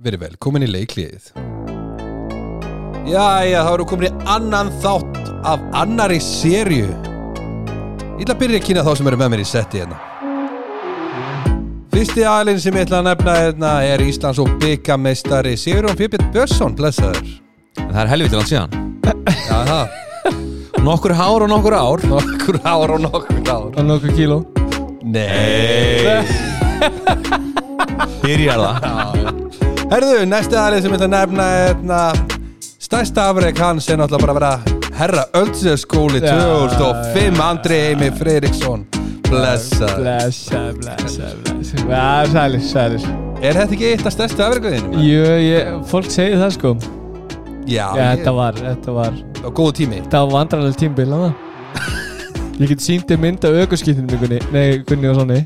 Verið velkomin í leikliðið. Jæja, þá eru komin í annan þátt af annari sériu. Ég ætla að byrja að kynna þá sem eru með mér í setti hérna. Fyrsti aðlinn sem ég ætla að nefna hérna er Íslands og byggameistari Sigurjón Pipit Börsson, blessaður. En það er helviti langt síðan Jaha, Nokkur hár og nokkur ár nokkur ár og nokkur ár. og nokkuð kíló Nei. Byrjar það Herðu, næsti aðlinn sem ég ætla að nefna er hérna stærsta afreg hans er náttúrulega bara að vera herra Öldsöskóli Já, 2005 já. Andri Heimi Freiriksson blessa Blessa, blessa, blessa Já, sælir, sælir Er þetta ekki eitt af stærsta afregriðinu? Jú, ég, fólk segir það sko Já, Já, ég- þetta var, þetta var á góðu tími Þetta var vandrarlega tímbil, hana Ég get síndi mynd af aukurskýttinu minni, nei, Gunni og Sonni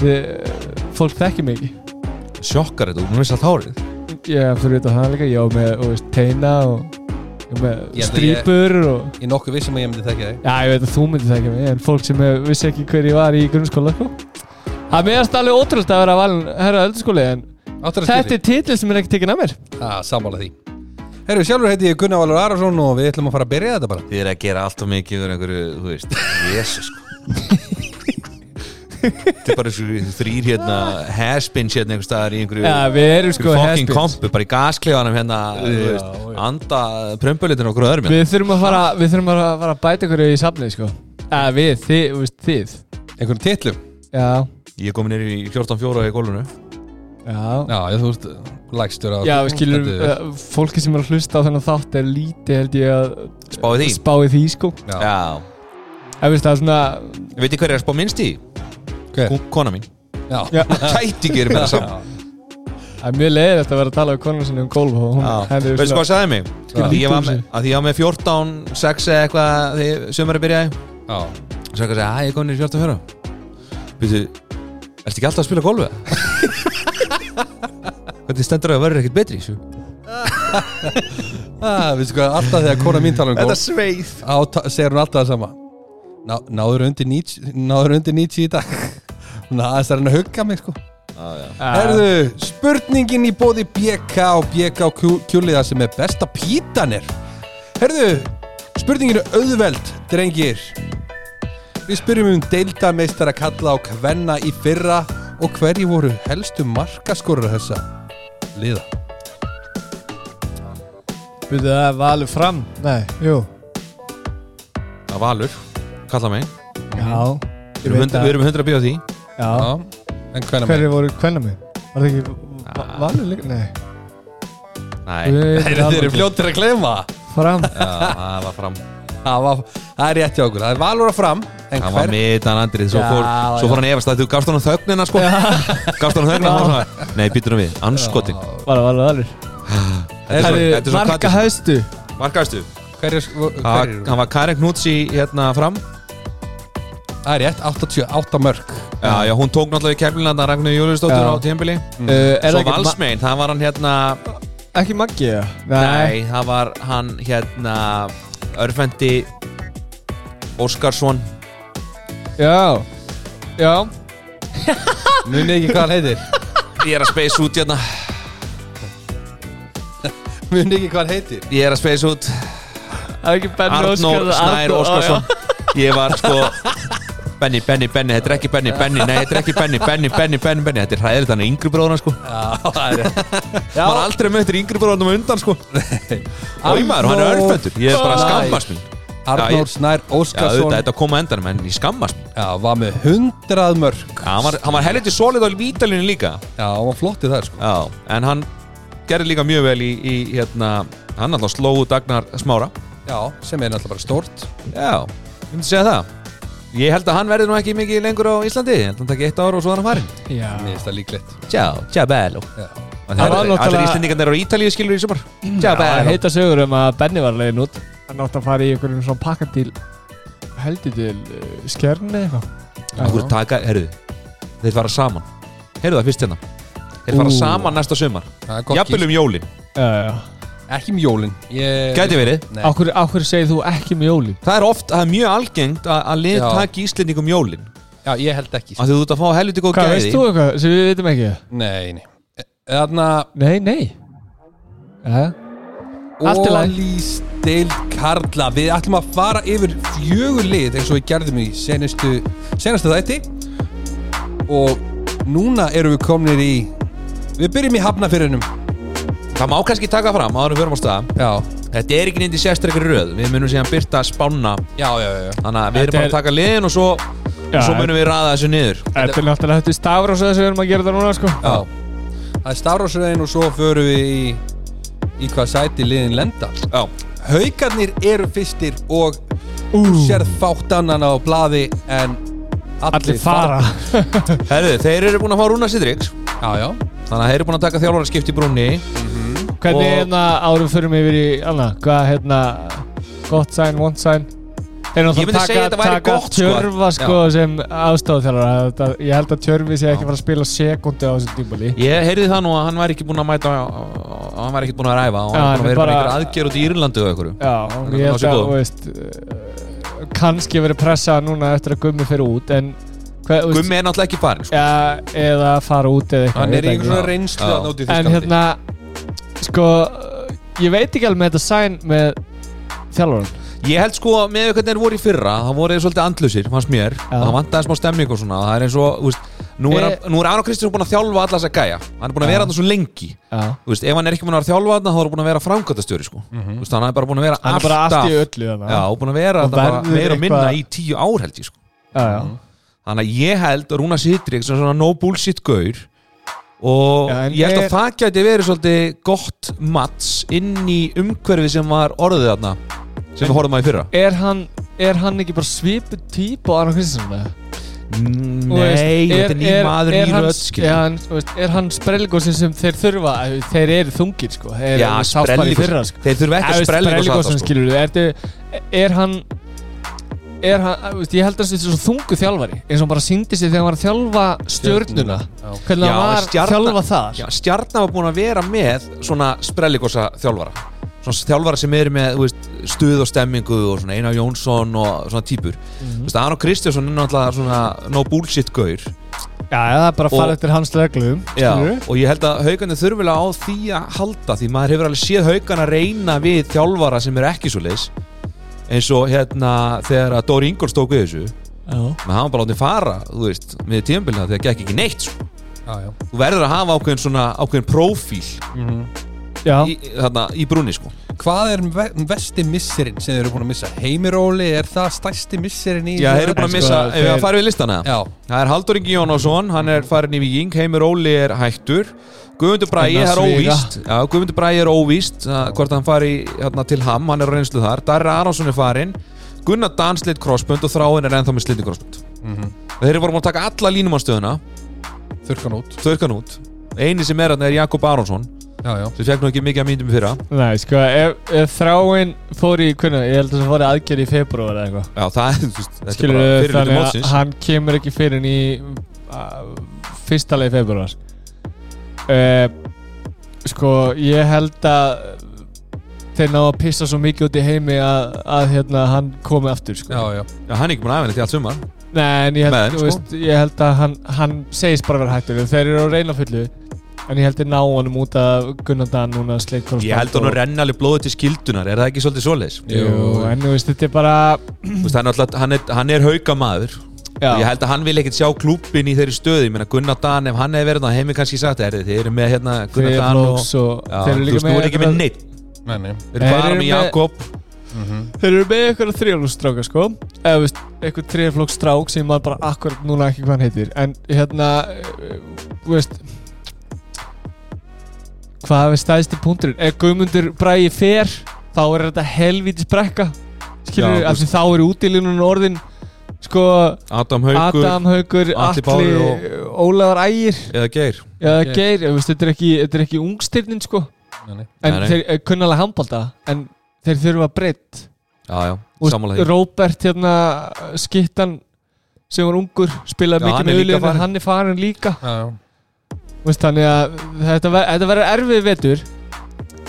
Þið, eh, fólk þekkir mig ekki Sjokkar þetta, hún veist allt hárið Já, fyrir þetta það líka, já, með, og veist, teina og ég var með Ég held að ég- strípur og Ég er nokkuð vissum að ég myndi þekka þig Já, ég veit að þú myndir þekkja mig, en fólk sem eh, vissi ekki hver ég var í grunnskóla, sko Það meðast alveg ótrúld að vera valin herra öldurskóli, en Áttur að Þetta skilja er titill sem er ekki tekinn af mér ah, Sammála því Herru, sjálfur heiti ég Gunnar Valur Arason og við ætlum að fara að byrja þetta bara Þið er að gera allt og mikið fyrir einhverju, þú veist Jesus sko Þetta er bara þessu þrýr hérna haspins hérna einhver staðar í einhverju Já, við erum sko einhverju fucking haspins. kompu, bara í gasklefanum hérna, þú Já, veist, anda prömbulitin okkur öðrum hérna Við þurfum að fara, við þurfum að fara að bæta ykkur í safnið sko Eða við, þið, þú veist, þið Einhverjum titlum Já, Ég er komin nýri í 14-4 í gólfinu já Já, ég þú veist, lægstur Já, við skilur, Þetta er- uh, fólki sem er að hlusta á þennan þátt er lítið held ég að Spáði því spáði því sko Já, Já, Ef veist það er svona, veit ég hver er að spá minnst í? hver? Kú- Kona mín Já, já, Gæti gerir mér það saman það er mjög leiðilegt að vera að tala við konum sinni um gólf og hún, henni er Veistu hvað svona sagði mig? Skilur Að ég var líta með, um sig. að ég var með 14, 6 eða eitthvað þegar sömur að byrjaði já og sagði að segja, að ég kom nýr 14 fjöra Býtu, ertu ekki alltaf að spila golfi? Hvernig stendur það að verður ekkert betri? Svo? Ah, Við sko, alltaf þegar kona mín tala um golf sveið á, ta- segir hún alltaf það sama Ná, náður undir 90 náður undir 90 í dag hún aðeins er hann að hugga mig sko Já, Herðu, spurningin í bóði BK og BK kjúliða sem er besta pítan er Herðu, spurningin er auðveld, drengir Við spyrjum um deildameistara kalla á kvenna í fyrra og hverju voru helstu markaskorur þessa liða byrjuðu það er valið fram Nei, jú, Það var alur, kalla mig já Við erum 100 við erum 100 að bíða á því Já, en hvenna með hverju voru kvenna mig? Var það ekki, va- valið líka? Nei Nei, Þeir eru fljóttir að gleyma það Fram Já, það var fram Það, var, það er rétt hjá okkur, það er valur að fram en Það var hver, mitan andrið Svo fór, Já, svo fór hann efast að þú gafst hann þögnina sko Gafst hann þögnina og svona Nei, býtur hann við, anskotin Var það valið valið Þetta er svo- þetta er svo marka kallið- hæstu Markaðstu hver, er, hver Það er, hann var Karin Knúts í hérna fram Það er rétt, 88 mörg Já, já, hún tók náttúrulega í keflina þarna Ragnar Júliusdóttur Já. á tímbili uh, er Mm. Svo það ekki ma- Valsmein, það var hann hérna Ekki Maggi, já Nei, það var hann hérna Örfendi Óskarsson Já Já Munið ekki hvað hann heitir Ég er að space út hérna Munið ekki hvað hann heitir Ég er að space út Það er ekki Benni Arnór Snær Óskarsson Ég var sko Benni, Benni, Benni, þetta er ekki Benni, Benni Nei, þetta er ekki Benni, Benni, Benni, Benni, Benni Þetta er hræðilegt hann er yngri bróðuna sko Já, það er rétt Já. Man aldrei möttir yngri bróðunum undan sko Æ maður, hann er örfendur Ég er bara að Snær. skammast mín Já, Arnór ég- Snær Já, auðvitað, Óskarsson Já, þetta kom að endanum, en ég skammast mér. var með 100 mörg Já, hann var, hann var helviti solid á vítalinu líka. Já, hann var flott í það sko Já, en hann gerði líka mjög vel í, í hérna, hann alltaf slóðu Dagnar Smára. Já, sem er náttúrulega bara stórt Já, ég myndi segja það. Ég held að hann verði nú ekki mikið lengur á Íslandi, ég held að hann takki eitt ár og svo er hann farin. Já Mér finnst það líklegt Ciao, ciao bello. Já, Það var Allir náttúrulega- Íslandingarnir eru á Ítalíu skilur í sumar. Ciao Það bello. heita sögur um að Benni var leiðin út Hann átti að fara í einhverjum svona pakka til Heldur til uh, skjörn eða Okkur eitthvað taka, herruðu, þeir fara saman. Heyrðu það fyrst hérna. Þeir fara Ú. saman næsta sumar. það er gott Jafnvel um jólin. Já, já gísk. Ekki um jólin ég... Gæti verið. Nei. Áhverju, áhverju segir þú ekki um jóli? Það er oft, það er mjög algengt að, að lið Já. taki Íslendingum jólin Já, ég held ekki sko. af því þú ert að fá helviti góð Hvað gæði veist þú eitthvað sem við veitum ekki? Nei, nei Þarna Nei, nei Jæja Allt í lagi. Ólísdeild Karla Við ætlum að fara yfir fjögur lið eins og við gerðum í senastu, senastu þætti og núna erum við komnir í Við byrjum í hafnafyrinum Það má kannski taka fram áður en við förum á staða Já, Þetta er ekki nýndi sérstakri röð Við munum síðan byrta að spána já, já, já, já. Þannig að við Þetta erum bara að er- taka liðin og svo Já, Svo munum við raða þessu niður Þetta er náttúrulega þetta er stafrós að þessu við erum að gera það núna sko já. Það er stafrósröðin og svo förum við í, í hvað sæti liðin lenda Já, Haukarnir eru fyrstir og Ú, sérð fátt annan á blaði en allir, Allir fara herðu, þeir eru búin að fá Rúna Sidriks Já, já, Þannig að þeir eru búin að taka þjálfara skipt í brúnni Hvernig Og- hérna árum förum yfir í annað Hvað hérna Gott sign, want sign Þeir Ég myndi náttúrulega segja taka, þetta væri taka gott, sko. tjörfa sko sem ástáð þjálfara Ég held að tjörfi sé ekki að fara að spila sekundi á þessum tímbali Ég heyrði það nú að hann var ekki búin að mæta og hann var ekki búin að ræfa og hann Já, var búin að hann er vera bara bara- einhver aðgerð út í Írlandu og einhverju Já, Þannig ég að ná held sér að, góðum. þú veist eh, kannski verið pressað núna eftir að gummi fyrir út en hvað, þú veist, Gummi er náttúrulega ekki farin sko. ja, eða fara út eða eitthvað hann ég er veit í ekki. einhvern svona reynslu Já. að nóti En hérna, sko eh, ég veit ekki alveg með þetta sæn með þjálfurinn Ég held sko að með hvernig þeir voru í fyrra það voru þeir svolítið andlusir, fannst mér Já. og það vantaði smá stemming og svona það er eins og, þú veist, nú er, Eh. hann, nú er Arno Kristjánsson búin að þjálfa alla þess að gæja hann er búin að Já. vera þarna svo lengi Já, Þú veist, ef hann er ekki búin að vera þjálfa þarna þá er hann búin að vera framkvæmtastjóri sko. mm -hmm. hann er bara búin að vera Mhm. hann er bara allt í öllu þarna. Já, og búin að vera Og þarna bara verður meira og minna eitthvað- í tíu ár held ég sko. já, já. Þannig að ég held að Rúna Sitrik sem svona no bullshit gaur og Já, en ég held að er- það gæti verið svolítið gott mats inn í umhverfi sem var orðið þarna sem við horfum að í fyrra Er, hann, er hann ekki bara svipu típa á Arnar Kristjánsson eða? Þú veist, Nei, þetta er ný maður, er ný hann- rödd skilur. Já, en, þú veist, er hann sprelgósin sem þeir þurfa þeir eru þungir sko þeir Já, eru sátt bara í sprelligus fyrra, sko. Þeir þurfa ekki að sprelli Sprelligosson skilur við er, er hann er hann, að, veist, ég held að þetta er svo þungu þjálfari eins og hann bara síndi sér þegar hann var að þjálfa stjörnuna hvernig Já, hann var stjarna- að þjálfa þar Já, stjarnar var búin að vera með svona sprelligosa þjálfara svona þjálfara sem eru með þú veist, stuð og stemmingu og svona Einar Jónsson og svona típur mm -hmm. Aron Kristjánsson er náttúrulega svona no bullshit já, gaur já, það er bara að Og- fara eftir hans reglum Já, skilur við og ég held að haugarnir þurfilega á því að halda því maður hefur alveg séð haugarna reyna við þjálfara sem eru ekki svo leis eins og hérna þegar að Dóri Ingolst tók við þessu Já. menn hann var bara látið fara, þú veist, með tíðanbylna þegar gekk ekki neitt sko. Já, já þú verður að hafa ákveðin svona ákveðin prófíl já, í, þarna, í brúni sko Hvað er ve- versti missirinn sem þeir eru búin að missa? Heimiróli, er það stærsti missirinn í Já, þeir eru búin að En sko, missa, ef við þeir- að fara við listana Já, Það er Haldur Ingi Jónásson, hann er farin í Víking, Heimir Óli er hættur Guðmundur Bræi, Spennandi það að er sviga. óvíst Já, Guðmundur Bræi er óvíst að hvort hann fari hérna, til ham, hann er á reynslu þar Darri Aronsson er farin, Gunnar Dan slitt crossbund og Þráin er ennþá með slitni crossbund Mhm. Þeir eru voru búin að taka alla línum á stöðuna þurrkan út þaurkan út, eini sem er hann er Jakob Aronsson Já, já sem fekk nú ekki mikið að myndum fyrra nei, sko ef, ef þráin fór í hvernig, ég held að það fór í aðgerð í februar eða eitthvað Já, það er, þú veist, þetta er skilur bara við, fyrir hluti þannig að mótsins hann kemur ekki fyrir en í uh, fyrsta leið februar uh, sko ég held að þeir ná að pissa svo mikið út í heimi að, að hérna, hann komi aftur sko. Já, já Já, hann er ekki búin aðeins í allt sumar Nei, en ég held, Með þeim, þú sko. veist, ég held að hann, hann segist bara vera hættur þeir eru á reyna fullu en ég held að ná honum út að Gunnar Dan núna sleitt Ég held hann að renna alveg blóðu til skildunar, er það ekki svolítið svoleiðis? Jú, en þú veist, þetta er bara Þú veist, hann, er alltaf, hann, er, hann er haukamaður og ég já, held að hann vil ekkert sjá klúbin í þeirri stöði Ég meina, Gunnar Dan, ef hann hefði verið það heimi kannski sagt er, þeir eru með hérna Gunnar þeir Dan eru og, flóks og já, þú veist, þú er ekki með neitt Nei, nei Mhm. Þeir eru með- þeir eru bara með Jakob Þeir eru með eitthvað þrjálfstráka sko eða veist, eitthvað þrjálfstráka sem maður bara akkurat núna ekki hvað hann heitir en hérna eh, þú veist hvað er stæðst í punkturinn ef Guðmundur bræði fer þá er þetta helvítis brekka skilur Já, við, þú af því þá eru útilínun orðin sko Adam Haugur Adam Haugur, Atli Atli, Bári og- Ólafur Ægir eða Geir eða Geir. Geir, þú veist, þetta er ekki, þetta er ekki ungstyrnin sko Nei, nei en Nei, nei. þeir eh, kunnalega handbalta en þeir þurfa breytt Já, já, Þú veist, sammála því Robert hérna skittan sem var ungur spilaði Já, mikið hann er með auðlið líka en farinn. hann er farin líka Já, já Þú veist, þannig að þetta, ver, þetta verður erfið vetur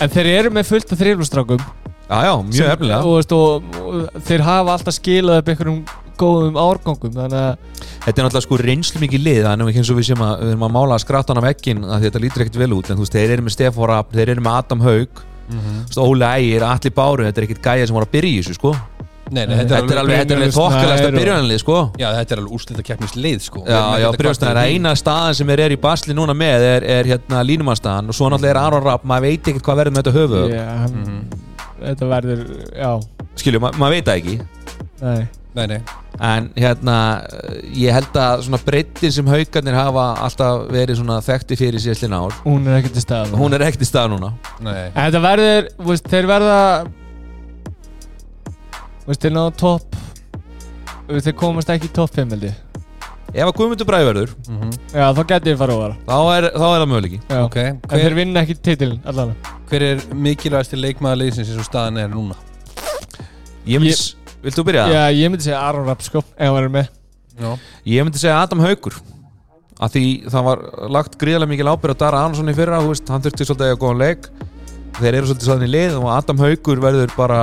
en þeir eru með fullt af þriflustrákum Já, já, mjög efnilega og, veist, og, og þeir hafa alltaf skilað upp einhverjum góðum árgangum þannig að Þetta er náttúrulega sko reynslu mikið lið þannig að ekki eins og við séum að við erum að mála skratan af ekkin að þetta lítur ekkert vel út en þú veist, þeir eru með Stefán Rapp, þeir eru með Adam Haug Mhm. mm -hmm. Óli Ægir, Atli Báru þetta er ekkert gæja sem voru að byrja í þessu sko Nei, nei, þetta er Þetta alveg er alveg, þetta er alveg Brynjólfur þokkilegasta Snær og- byrjanlið sko Já, þetta er alveg úrslita keppnislið sko Við Já, erum já, ekkert að Brynjólfur kvarta Snær, yfir því. eina staðan sem er, er í basli núna með er, er hérna línumannstaðan og svo náttúrulega er Aron Rapp, maður veit ekkert hvað verður með þetta höfuð ég, hann, Mhm. þetta verður já, skilju, ma maður veit það ekki nei Nei, nei, en hérna ég held að svona breyttin sem haugarnir hafa alltaf verið svona þekkti fyrir síðastlinn ár hún er ekkert í stað hún er ekkert í stað núna nei En þetta verður, þú veist, þeir verða þú veist, þeir náðu topp þú veist, þeir komast ekki í topp 5 held ég ef að Guðmundur Bræði verður Já, þá geti ég fara óvara þá er, þá er það möguleiki Já, Mhm. Ok, En hver, þeir vinna ekki titilin allan hver er mikilvægasti leikmaður liðsins eins og staðan er núna? ég myndi, ég... viltu byrja? Já, ég myndi segja Aron Rapp sko ef hann verður með Já, ég myndi segja Adam Haugur að því það var lagt gríðarlega mikil ábyrð á Dara Arnason í fyrra, þú veist, hann þurfti svolítið að eiga góðan leik þeir eru svolítið svolítið í lið og Adam Haugur verður bara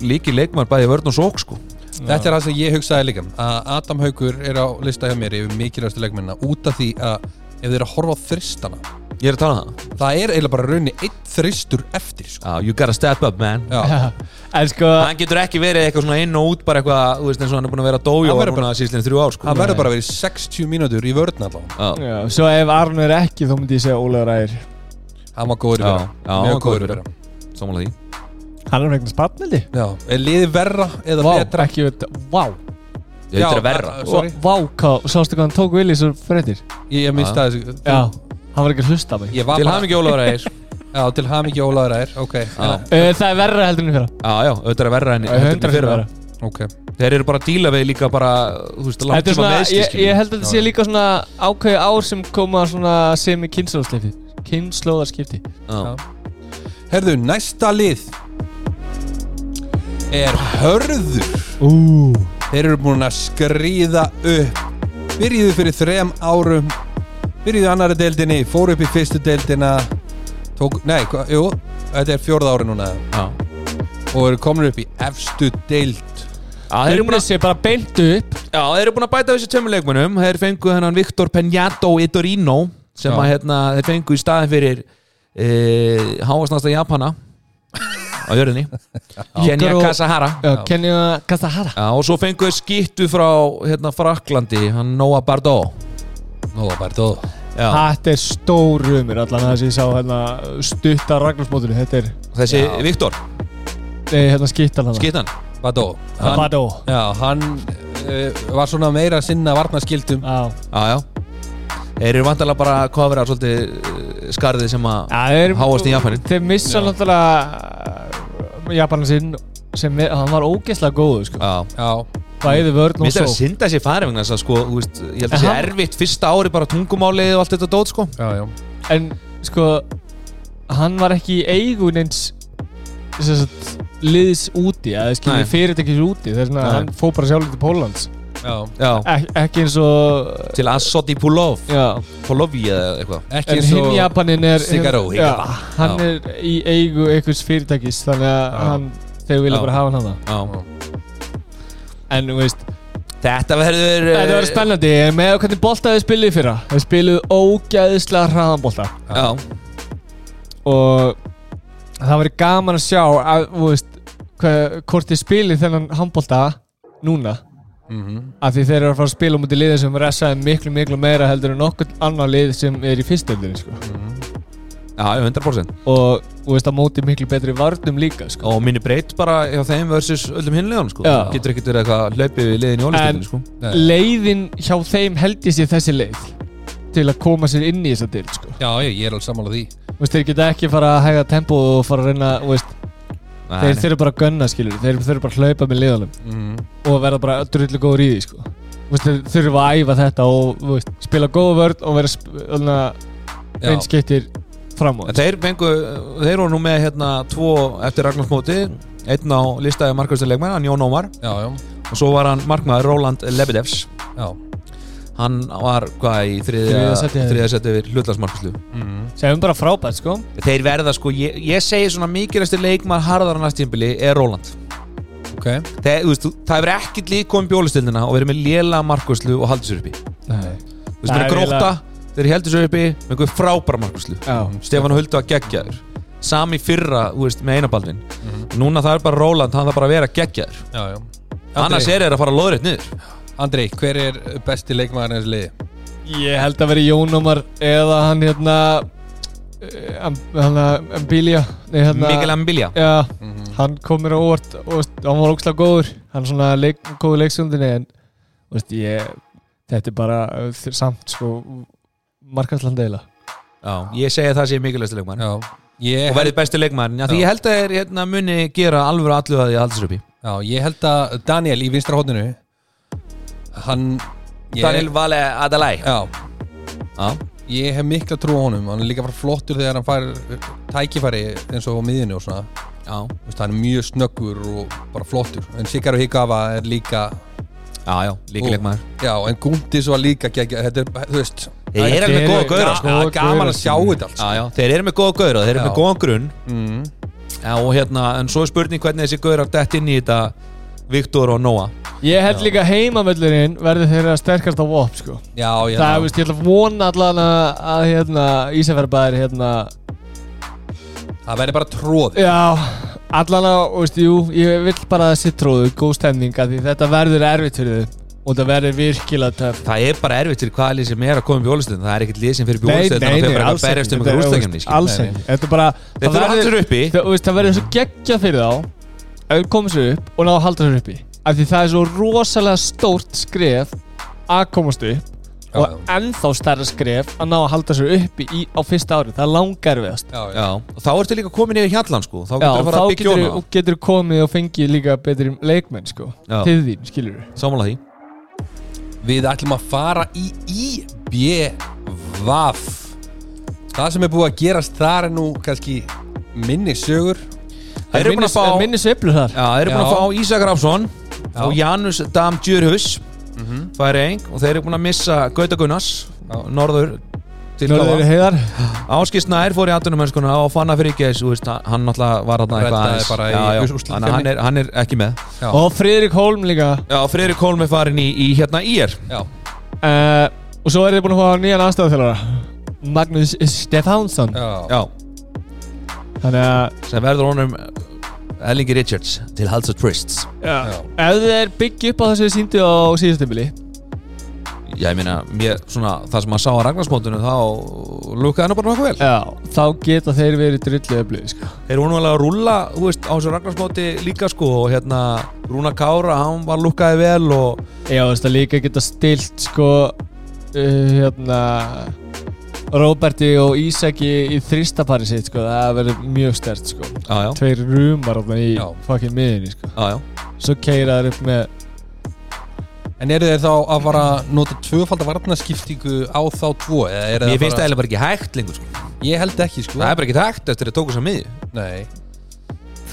líki leikmann bæði í vörn og sók sko Þetta er það sem ég hugsaði líka að Adam Haugur er á lista hjá mér yfir mikilvægastu leikmennina út af því að ef þið eru að horfa á þristana ég er að tala um það, það er eiginlega bara raunni einn þristur eftir sko. ah, you gotta step up man Já, En sko, hann getur ekki verið eitthvað svona inn og út bara eitthvað, þú veist, eins og hann er búin að vera dójó Hann verður núna síðan þrjú ár, sko hann verður bara að vera í 60 mínútur í vörðna allavega já, já, svo ef Aron er ekki þá myndi ég segja Ólaður Ægir Hann var góður í vera Já, já, hann var góður í fyrra. sammála því Hann er vegna spatnildi Já, er liði verra eða Vá, betra? ekki veit Vá, ég Já, veit að verra að- sko. Sorry. vá, hvað, sástu hvað hann tók Willi svo freddir Ég, ég misti Já. það þessu Já, hann var ekki að hlusta á mig Ég var til bara- hann ekki ólega reis Já, til hamingi ólaður er Ok, já, Uh, Það er verra heldur en í fyrra já, já, auðvitað er verra en Það er heldur en 100% fyrra. verra ok þeir eru bara að díla við líka bara þú veist, Þetta langt er tíma svona, meðsli ég, ég held að þetta sé líka svona ákveði ár sem koma svona sem í kynnslóðarskipti kynnslóðarskipti Já. Herðu, næsta lið er hörður Ú Þeir eru búin að skrýða upp Byrjuðu fyrir þrem árum Byrjuðu í annari deildinni Fóru upp í fyrstu deildina Tók, nei, hva, jú, þetta er fjórða ári núna Og eru komin upp í efstu deild þeir Þeir eru eru búin að að, sé bara beint upp já, þeir eru búin að bæta þessi tömmu leikmönnum þeir fengu þennan Viktor Penjato Itorino sem Já. að hérna, þeir fengu í staðin fyrir e, háasnasta Japana á jörðinni Kenya Ígor og- Kasahara Já, Kenny og Kastahara Já, og svo fengu þeir skýttu frá hérna, Fraklandi, hann Noah Bardot Nú, það bara tóð Já, Þetta er stór rumur allan það sem ég sá hérna stutta ragnarsmótinu Þetta er, þessi Já. Viktor, nei, hérna skittan hann skýttan Badó hann, Badó Já, hann uh, var svona meira að sinna varnaskildum Já, Já, já Þeir eru vantarlega bara að kofra svolítið eh, skarðið sem að Já, þeir Háast í Japaninn. Þeir missa náttúrulega uh, Japanin sinn sem er, hann var ógeðslega góðu sko Já, Já, Bæði vörn og minnst svo er að synda sér farið vegna þess að sko, þú veist, ég held að En sé hann- erfitt fyrsta ári bara tungumálið og allt þetta dót sko já, já En sko Hann var ekki í eigun eins sem sagt, Liðs úti Eða Nei. skilji fyrirtækis úti Þess vegna Nei. hann fó bara sjálf til Pólans Já, Já, Ek, Ekki eins og til Assoti Pulov Já Pulovi eða eitthvað ekki En eins hinn og Japanin er Shigeru hinn- Higata. Já, Hann Já. er í eigu einhvers fyrirtækis Þannig að Já. hann Þeir vilja Já. bara hafa hann hana Já. En þú veist Þetta verður eh, Þetta var spennandi En með hvernig bolta þau spiluðu í fyrra Þau spiluðu ógæðislega hraðan bolta Já, og það væri gaman að sjá að, þú veist, hvað, hvort þið spilir þennan handbolta núna Mhm. af því þeir eru að fara að spila um út í liðið sem ressaði miklu miklu meira heldur en nokkur annar lið sem er í fyrstöldinni sko. já, 100% og þú veist að móti miklu betri varnum líka sko. Og minni breytt bara hjá þeim versus öllum hinlegan sko Já. Getur ekkert verið eitthvað hlaupið við liðin í En- ólistöldinu sko Nei. leiðin hjá þeim held ég sér þessi leið til að koma sér inn í þessa deil sko. Já, ég, ég er alveg sammála því Þú veist, þeir geta ekki fara að hæga tempo og fara að reyna þú veist, Nei, þeir nei. þurfa bara að gunna skilur þeir þurfa bara að hlaupa með liðanum mm. og verða bara drullu góður í því sko. Þú veist, þeir þurfa að æfa þetta og þú veist, spila góða vörð og vera Já. einskiptir fram á En þeir fengu, þeir voru nú með hérna tvo eftir Ragnarsmóti einn á listaði markvæmstuleikmenn, hann Jón Ómar Já, já, og svo var hann markmaður Róland Lebedevs já hann var hvað í Þriðja sæti eða- þriðja seti yfir hlutlagsmarkvæmstu mm. sem bara frábært sko Þeir verða sko, ég, ég segi svona mikilvægstu leikmaður harðara næstímbili er Róland Ok ok, það, þú veist, þú- það hefur ekkert líka komið bjólistildina og verið með léla markvæslu og haldið sér uppi Nei. þú veist, Það mér er gróta, þeir heldur sér uppi með einhver frábæra markvæslu Já. Stefán Huldu að geggja þér sami fyrra, þú veist, með einabaldin Mhm. núna það er bara Róland, hann þarf bara að vera geggja þér já, já annars Andri, er þeir að fara loðrétt niður Andri, hver er besti leikmaður hans liði? Ég held að vera Jón Ómar eða hann hérna eh, Am- hann að Ambilja Nei, hérna Mikil Ambilja Já, Mhm. hann kom mér á óvart og veist, hann var ógslag góður hann er svona leik, góður leiksundinni en þú veist, ég, þetta er bara eh, samt sko markaslandeila ég segi að það sé mikilvægstu leikmann Já, ég og verðið besti leikmann, já, því Já. ég held að þeir hérna, muni gera alvöru allu að því að halda sér uppi Já, ég held að Daniel í vinstra hóttinu Hann ég, Daniel Vale Adalai Já, já, ég hef mikla trú á honum Hann er líka bara flottur þegar hann fær uh, tækifæri eins og á miðinu og svona já, Þú veist, Hann er mjög snöggur og bara flottur En Sikaru Hikawa er líka já, já líka leikmann Já, en Gundis var líka geggja Þetta er, þú veist þeir eru Þeir með góða eru- gauðra Já. sko. Það er gaman að sjá þetta allt já, já, þeir eru með góða gauðra, þeir eru með Já. góðan grunn mm. já, og hérna, en svo er spurning hvernig þessi gauðrar dett inn í þetta Viktor og Noah Ég held líka heimamöllurinn verði þeirra sterkast á VOP sko. Já, já það er, veist, ég ætla að vona allan að, að hérna, Ísafjörðbæðir hérna, það verður bara tróði já, allan að og veist, jú, ég vill bara að það sittróðu góð stemning að því þetta verður erfitt fyrir þau og það verður virkilega töf það er bara erfitt fyrir hvaða lið sem er að koma í bjólastöðin það er ekkert lið sem fyrir Nei, bjólastöðin nei, þannig að nei, þeir bara alls að berjast um ekki. Þetta er, einhver úrstækjumni veist, Alls ekki, þetta er bara þeir það þurfa að verður- halda sér uppi það, þú veist, það verður svo geggja fyrir þá að við komum sér upp og ná að halda sér uppi af því það er svo rosalega stórt skref að komast upp og já. ennþá stærra skref að ná að halda sér uppi í, á fyrsta ári það er langar viðast Já, já, Já, og þá ertu líka komin yfir hjallan sko þá Já, getur þú að þá fara að byggja getur, hana getur komið og fengið líka betri leikmenn sko, Já. til þín, skilur við Samanlega því Við ætlum að fara í IBVAF Það sem er búið að gerast þar er nú kannski minni sögur Þeir eru búin að fá Já, minni sveiflu þar þeir eru búin að Já. fá Ísak Rafsson og Janus Dam Djurhus Mhm. það er einn og þeir eru búin að missa Gauta Gunnars norður til Norður Gáa heiðar Áskis Nær fór í atunumennskuna og fann að fyrir geis hann náttúrulega var þarna eitthvað Reddaði aðeins. bara í Já, já, úrslitakeppni. þannig að hann er- hann er ekki með Já. og Friðrik Holm líka Já, Friðrik Holm er farin í, í hérna ír Já, uh, og svo er þið búin að fá nýjan aðstæðaþjálfara Magnús Stefánsson já, Já, þannig að sem verður honum eh, Ellingi Richards til Halds og Twists Já. Já. Ef þeir byggja upp á þessu síndu á síðustömbili Já, ég meina, mér, svona, það sem maður sá að Ragnarsmóttunum þá lukkaði hann bara nokkuð vel Já, þá geta þeir verið drullið öflug sko. Þeir voru nú alveg að rúlla, þú veist, á þessu Ragnarsmóti líka sko og hérna Rúna Kára, hann var lukkaði vel og Já, þú veist að líka geta stilt sko uh, hérna Róberti og Ísaki í þristapari sitt sko, það verður mjög stert sko Já, já, Tveir rúmar þarna í Já. fucking miðinni sko já, já Svo keira þeir upp með uh, En eru þeir þá að fara að nota tvöfaldar varnaskiptingu á þá tvo? eða eru þeir að Mér finnst það fara- eiginlega bara ekki hægt lengur sko Ég held ekki, sko Það er bara ekki hægt eftir að tóku sér miði Nei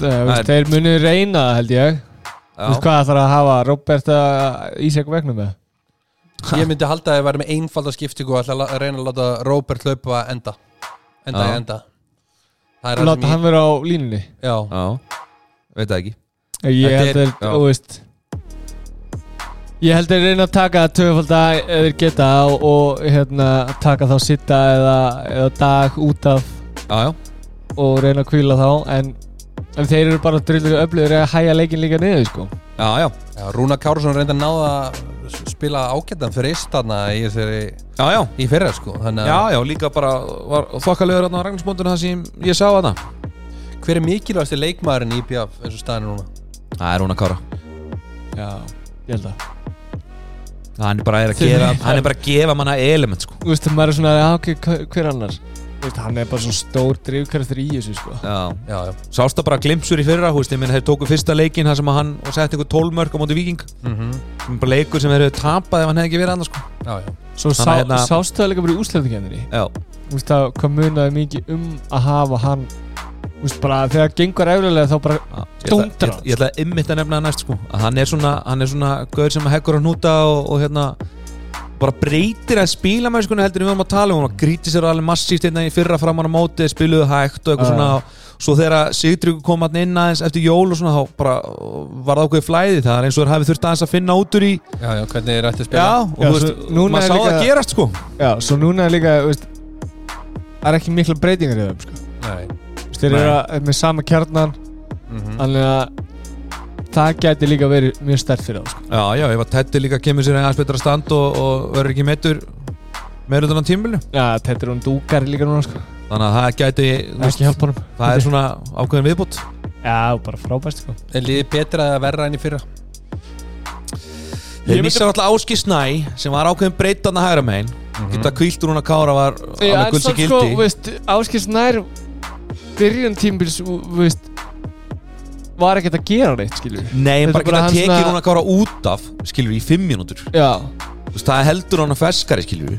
það, Það veist, Þeir munu reyna það held ég Þú veist Já, hvað þarf að hafa Róberta Ísak vegna með Ég myndi halda að þeir væri með einfaldar skiptingu og ætla að la- að reyna að láta Robert hlaupa enda Enda Já. í enda Það er það Láta sem hann vera á línunni ég Já, já, veit það ekki Ég Þetta held er- þeir, já. þú veist Ég held þeir reyna að taka töfalda ef þeir geta og, og hérna, taka þá sitta eða, eða dag út af Já, já, og reyna að kvíla þá en, en þeir eru bara drillur og öflugur að hæja leikin líka niður sko já, já, já Rúna Kárusson reynda að náða að s- spila ágættan fyrir istana í, þessari- já, já í fyrra, sko Þannig Já, að já, líka bara var þokkalegur þarna á Ragnarsmóttunum það sem ég sá að það hver er mikilvægasti leikmaðurinn í IPF eins og staðan er núna? Það er Rúna Kára Já, ég held að Hann er bara að Þið- gefa, hann er bara að gefa manna element sko Þú veist, maður er svona, já, ok, hver- hver annars Þú veist, hann er bara svona stór drifkvæftur í þessu sko Já, Já, já sást það bara glimsur í fyrra, hú veist, ég meina þeir tóku fyrsta leikinn þar sem að hann og sett einhver tólmörk á móti viking mm sem er bara leikur sem þeir hefur tapað ef hann hefði ekki verið annars sko Já, já Svo Þannig sá, að hérna- sástu það líka bara í úslandikendinni Já, Þú veist að hvað munaði mikið um að hafa hann Þú veist bara þegar gengur eflulega þá bara já. Ég ætla- Dúndrar. Ég, ég ætla að ymmit að nefna það næst sko að hann er svona, hann er svona gaur sem að hekkur að núta og, og hérna bara breytir að spila með sko heldur en við vorum að tala um hún að gríti sér alveg massíft hérna í fyrra framan á móti spiluðu hægt og Já. eitthvað svona svo þegar Sigtryggur kom hann inn aðeins eftir jól og svona þá bara var það ákveði flæði það er eins og þeir hafi þurft aðeins að finna út úr í Já, já, hvernig er þetta að spila? já, og Já, þú veist, svo núna er maður sá líka- það gerast sko Já, svo núna er líka, þú veist, það er ekki mikla breytingar í þeim, sko. Nei. Þú veist, þeir Nei. Mhm. eru að- með sama kjarnan, Mm þannig að það gæti líka verið mjög stert fyrir það, sko. já, já, ef að Teddy líka kemur sér aðeins betra stand og, og verður ekki meittur meður utan á tímbilinu Já, þetta er hún dúkar líka núna, sko. þannig að það gæti, þú veist, Ekki hjálpa honum. það er svona ákveðin viðbútt Já, bara frábært, sko. En liðið betra eða verra enn í fyrra? Þeir Ég myndi- missa alltaf Áski Snæ sem var ákveðin breytt hann að hægra megin Gita kvíldur hún að Kára var alveg gulds í sko, gildi þú veist, Áskils nær byrjun tímbils, þú veist, var ekkert að gera neitt, skilur við. Nei, Þetta er bara bara geta hans tekið svona- hún að Kára út af skilur í fimm mínútur Já, Þú veist, Það heldur hann að ferskari skilur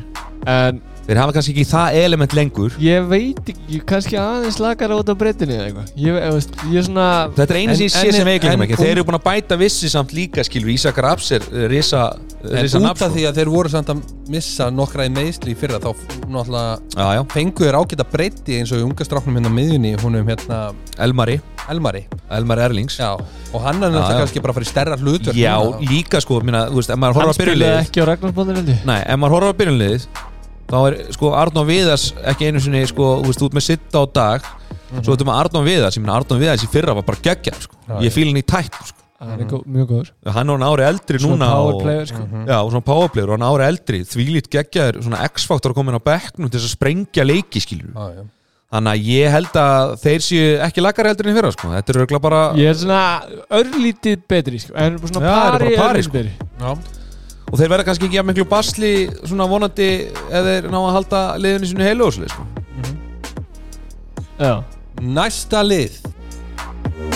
en Þeir hafa kannski ekki það element lengur ég veit ekki, kannski aðeins lagar út á breytinni eða eitthvað. Ég, ég, veist, ég er svona, Þetta er eina sem ég En- sé en- sem veiklegum en- ekki Þeir eru búin að bæta vissi samt líka skilur Ísakar Raps er eh, risa En risa út af nafn sko. því að þeir voru samt að missa nokkra í meðsli í fyrra þá f- náttúrulega Já, já, fengu þeir ágæta breytti eins og í unga stráknum hérna á miðjunni húnum hérna Elmari Elmari Elmari Erlings Já, og hann er Já, já. náttúrulega kannski bara að fara í stærra hlutur Já, líka sko, minna, þú veist, ef maður hann horfa að byrja spilaði ekki á Ragnarsbóðinu, heldur. Nei, ef maður horfður á byrjunliðið þá er sko Arnón Viðars ekki einu sinni sko, þú veist, út með sitt á dag Mhm. svo þetta með Arnón Viðars, ég minna Arnón Viðars í fyrra var bara geggja, sko. Já, ég fíl hann í tætt sko. Hann er gó, mjög góður. hann er hann ári eldri Svona núna power og, player, sko. já, og svona powerplayer og hann ári eldri, þvílít geggjaður svona X-faktor komin á bekknum til þess að sprengja leiki skilur, Já, já. þannig að ég held að þeir séu ekki lakar eldri en í fyrra sko. þetta er örgulega bara, Ég er svona örlítið betri, sko. En svona Já, þeir eru pari, bara pari, örlítið sko. betri. Já. og þeir verða kannski ekki að miklu basli svona vonandi eða þeir ná að halda liðinu sinu heilu og svoleiðis, sko. Já. Næsta lið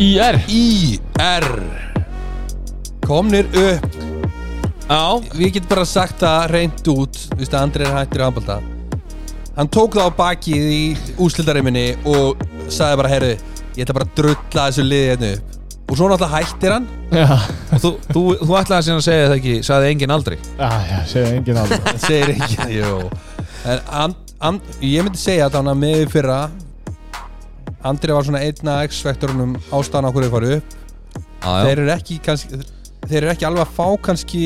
IR. IR Komnir upp Já, Við getum bara sagt það reynd út Þú veist að Andri er hættur í handbalta Hann tók það á bakið í úslitareiminni og sagði bara, herru ég ætla bara að drulla þessu liði hérna upp og svo náttúrulega hættir hann Já. Og þú, þú, þú ætlaði síðan að segja það ekki, sagði enginn aldrei Ah, já, segja enginn á það. Það segir ekki Jú En and, and, ég myndi segja að þannig að með í fyrra Andri var svona einna X-vektorunum ástæðan á hverju þeir faru upp Þeir þeir, eru ekki kannski Þeir eru ekki alveg að fá kannski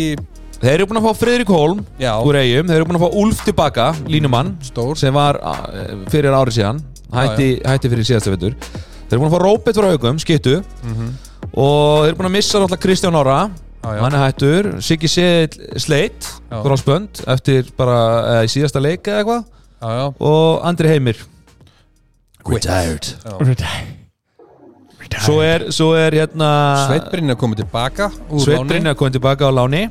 þeir eru búin að fá Friðrik Holm Já, úr eigum, þeir eru búin að fá Úlf tilbaka, línumann stór sem var eh, fyrir ári síðan hætti, hætti fyrir síðasta vettur þeir eru búin að fá Róbert frá haugum, skittu og þeir eru búin að missa alltaf Kristján Ára Mhm. Já, já. hann er hættur, Siggi Seðil Sleit, Já. Grósbönd eftir bara eh, í síðasta leik eða eitthvað Já, já og Andri Heimir Retired Svo er, svo er hérna Sveitbrinn er komið tilbaka úr láni. Sveitbrinn er komið tilbaka á láni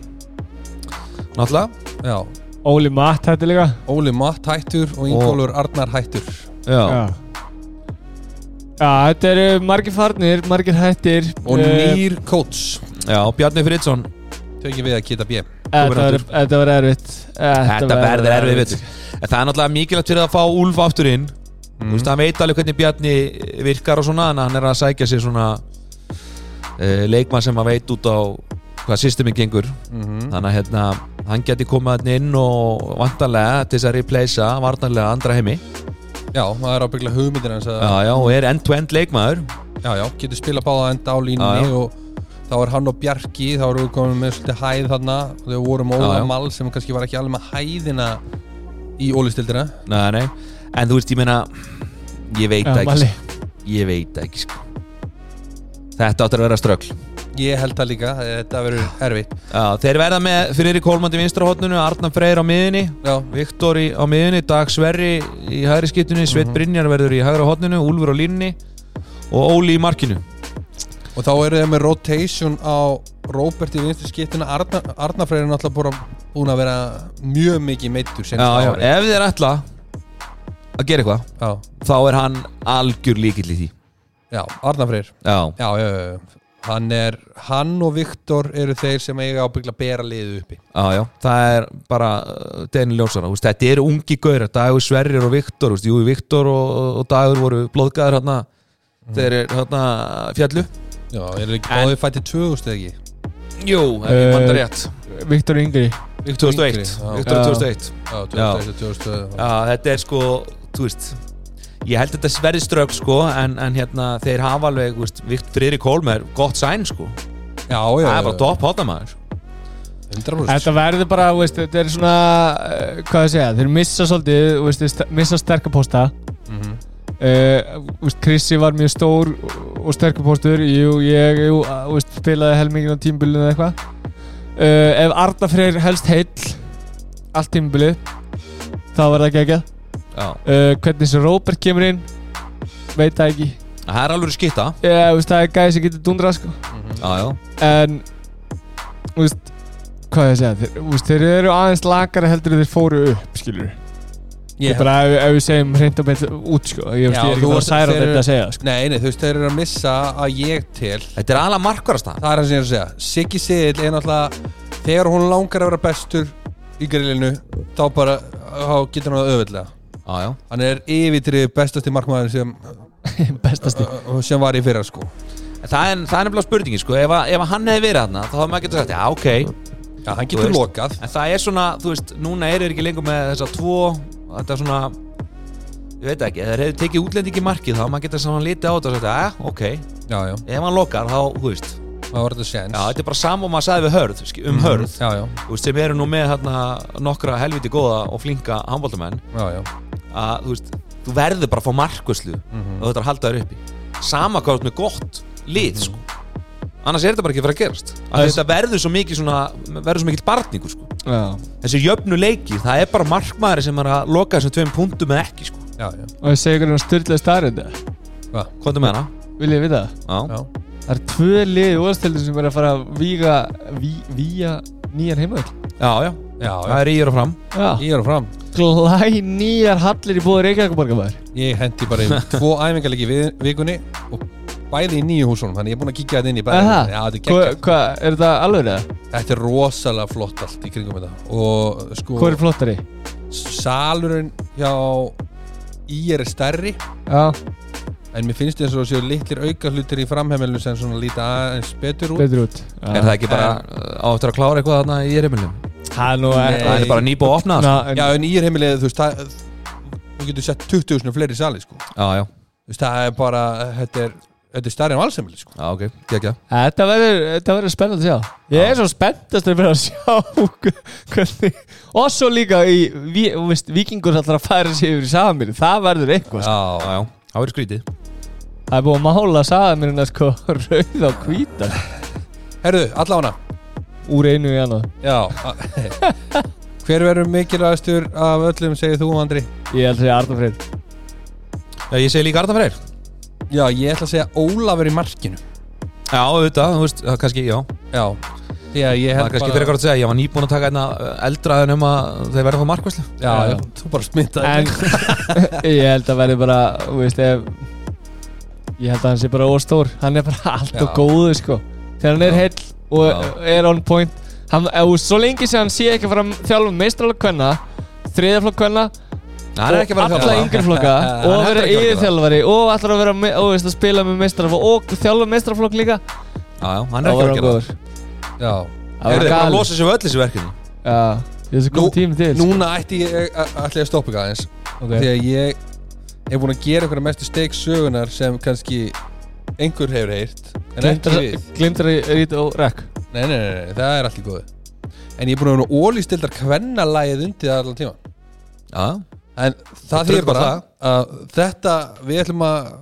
Náttúrulega Já Óli Matt hætti líka. Óli Matt hættur og Ingólfur Arnar hættur Já. Já. Já, þetta eru margir farnir, margir hættir. Og Eh, nýr coach Já, Bjarni Fridsson Tökjum við að geta bjö Eh, Þetta Komin verður- aftur. þetta verður erfitt Eh, Þetta verður erfið veitur En það er náttúrulega mikilvægt fyrir að fá Úlf aftur inn Þú veist, hann veit alveg hvernig Bjarni virkar og svona En hann er að sækja sér svona uh, Leikmann sem hann veit út á Hvað systemin gengur Þannig að hérna, hann geti komið hann inn Og vantarlega til þess að replacea Varnarlega andra heimi Já, það er ábyggla hugmyndir hans að Já, já, og er end-to-end leikmaður Já, já, getur spila báða enda á línunni Já, já. og þá er hann og Bjarki þá erum við komin með svolítið hæð þarna og þau vorum Já, Óla já. Mall sem kannski var ekki alveg með hæðina í ólistildina Nei, nei En þú veist, ég meina Ég veit það Já, ekki sko. Mali Ég veit það ekki sko Þetta áttur að vera ströggl Ég held það líka, þetta verður erfitt Já, Þeir verða með Friðrik Hólmandi vinstra hotnunu Arnar Freyr á miðinni Já, Viktor í, á miðinni, Dag Sverri í hægri skiptunni Sveit Brynjar verður í hægra hotnunu Úlfur á línni Og Óli í markinu og þá eru þeir með rotation á Róbert í vinstu skiptina Arna, Arnafreyri er náttúrulega bara búin að vera mjög mikið meittur já, já, Ef þeir ætla að gera eitthvað já, Þá er hann algjör líkill í því já Arnafreyr Já, já, já, já, já Hann, er, hann og Viktor eru þeir sem eiga ábyggla að bera liðið uppi já, já Það er bara uh, Deni Ljósara úst, Þetta eru ungi gauður Dagur Sverrir og Viktor úst, Jú, Viktor og, og Dagur voru blóðgæður hann hérna þeir eru hérna fjallu Já, er ekki báðið fættið 2000 eða ekki? Jú, ef ég Eh, mann það rétt Viktor Yngri 2001 já. Viktor Já. 2001 Já, 2001, 2000 Já, þetta er sko, þú veist Ég held þetta sverri strök sko en, en hérna, þeir hafa alveg, þú veist Vikt Friðri Kólm er gott sæn sko Já, já, Það er bara topp hotnamaður 100% Þetta verður bara, þú veist, þetta er svona eh, hvað að segja, þeir missa svolítið þú veist, þeir st- missa sterka posta Mhm. Uh, úst, Krissi var mjög stór og sterkur postur jú, ég jú, að, úst, spilaði helmingin á tímbilinu eða eitthvað uh, ef Arna Freyr helst heill allt tímbilið þá var það geggjað Já, uh, hvernig sem Robert kemur inn veit það ekki það er alveg skitta ég, úst, það er gæði sem getur dundrað sko. Já, já, en úst, hvað ég að segja þeir, úst, þeir eru aðeins lakara heldur en þeir fóru upp skilur Ég- ég bara ef, ef við segjum hreint og beint út sko. ég, úst, Já, ég þú er ekki bara varst- að særa þeir eru- þetta að segja sko. Nei, nei, þú veist, þeir eru að missa að ég til þetta er ala markvarasta Það er það sem ég er að segja Siggi Sigil er náttúrulega Þegar hún langar að vera bestur í grillinu Þá bara, þá getur hann það auðveldlega Já, já, Hann er yfirtrið bestasti markmaður sem, sko. bestasti sem var í fyrra sko En það er, það er nefnilega spurningin sko Ef, að- ef að hann hefði verið þarna, þá hefði maður getur sagt Já, ok, Já, hann Þú getur veist. lokað En það er svona, þú veist, núna eru þeir ekki lengur með þessa tvo Þetta er svona Ég veit ekki, ef þeir hefðu tekið útlendingi í markið þá maður getur saman litið á þetta og sagt, að, ok, Já, já, ef hann lokar þá, þú veist Já, það var þetta séns þetta er bara sama og maður sagði við hörð, sk- um hörð Já, já, þú veist, sem eru nú með hérna, nokkra helviti góða og flinka handbóltamenn já, já að þú veist, þú verður bara að fá markvöslu og þetta er að halda þér uppi sama hvað þú ert með gott lið sko. annars er þetta bara ekki að fara að gerast Af því Það er- þetta verður svo mikið svona, verður svo mikið barningur sko. Já. þessi jöfnu leiki, það er bara markmaður sem er að loka þessum tveim punktum eða ekki sko. Já, já, og ég segi ykkur um styrlaði starrenda Hva? hvað er með hana? vil ég vita það? Já. já, það er tvö lið í úrstildin sem er að fara að víga ví, víga nýjan heimavöld Já, já, já, það er í og fram já, Ég er fram glæ nýjar hallir í búið Reykjavíkuborga maður Ég hendi bara í tvo æfingarleiki við vikunni og bæði í nýju húsunum þannig ég er búinn að kíkja þetta inn í Er bæði það? Já, þetta er hvað, geggjað hva, er þetta alveg það? Þetta er rosalega flott allt í kringum þetta og sko hvað er flottari? salurinn hjá í er stærri já, en mér finnst eins og séu litlir auka hlutir í framheimilinu sem svona líta aðeins betur út betur út er það ekki bara áttur að klára eitthvað þarna í erimilum? það er nú Nei. Það er bara nýbúið að opna Eh, Na, sko. en, Já, en í er heimilið, þú veist, það þú getur sett 20.000 fleiri sali, sko þú Já, já, veist, það er bara, þetta er þetta er stærri en valsheimili, sko já, ok, gekkja þetta verður þetta verður spennandi að sjá ég er svo spenntast að vera að sjá hvernig og svo líka í ví, þú veist, vikingur ætlar að færa sig yfir í samir það verður eitthvað Já, já, það verður skrítið Það er búið að mála samirina sko rauð á hvíta Herðu, allána, úr einu í annað já a- Hver verður mikilvægastur af öllum, segir þú, Andri? Ég held að segja Arnar Freyr Já, ég segi líka Arnar Freyr Já, ég ætla að segja Ólafur í markinu Já, auðvitað, þú veist, það kannski, já Já, því að ég held Það er kannski fyrir eitthvað að segja, ég var nýbúin að taka einna eldra en um að þeir verða á markvæslu Já, já, þú bara smitaði En ég held að verði bara þú veist, ef, Ég held að hann sé bara óstór Hann er bara allt og Já. góðu sko Þegar hann er heill og Já. er on point hann, ef, Svo lengi sem hann sé ekki að fara að þjálfum meistralag kvenna þriðaflokk kvenna Það er ekki að vera alla þjálfara. yngri flokka Hann og vera er ekki að vera yfirþjálfari og allar að vera með, og, veist, að spila með meistraflokk og þjálfa meistraflokk líka Já, já, hann þá er var ekki að hann vera að gera það góður Já Það var Þeir eru bara að galið. losa sér við öll þessi verkefni Já, ég þessi Nú- komið tími til Núna ætti ég, ætla ég að stoppa ykkur aðeins Ok. Þegar ég er búin að gera einhverja mestu steik sögunar sem kannski einhver hefur heyrt en ekki við Glimtar í rít og rekk nei, nei, nei, nei, það er allt í góðu En ég er búin að vera ólýstildar kvennalægið undir það allan tíma Já, En það Þetta er þýðir bara bara að þetta, við ætlum að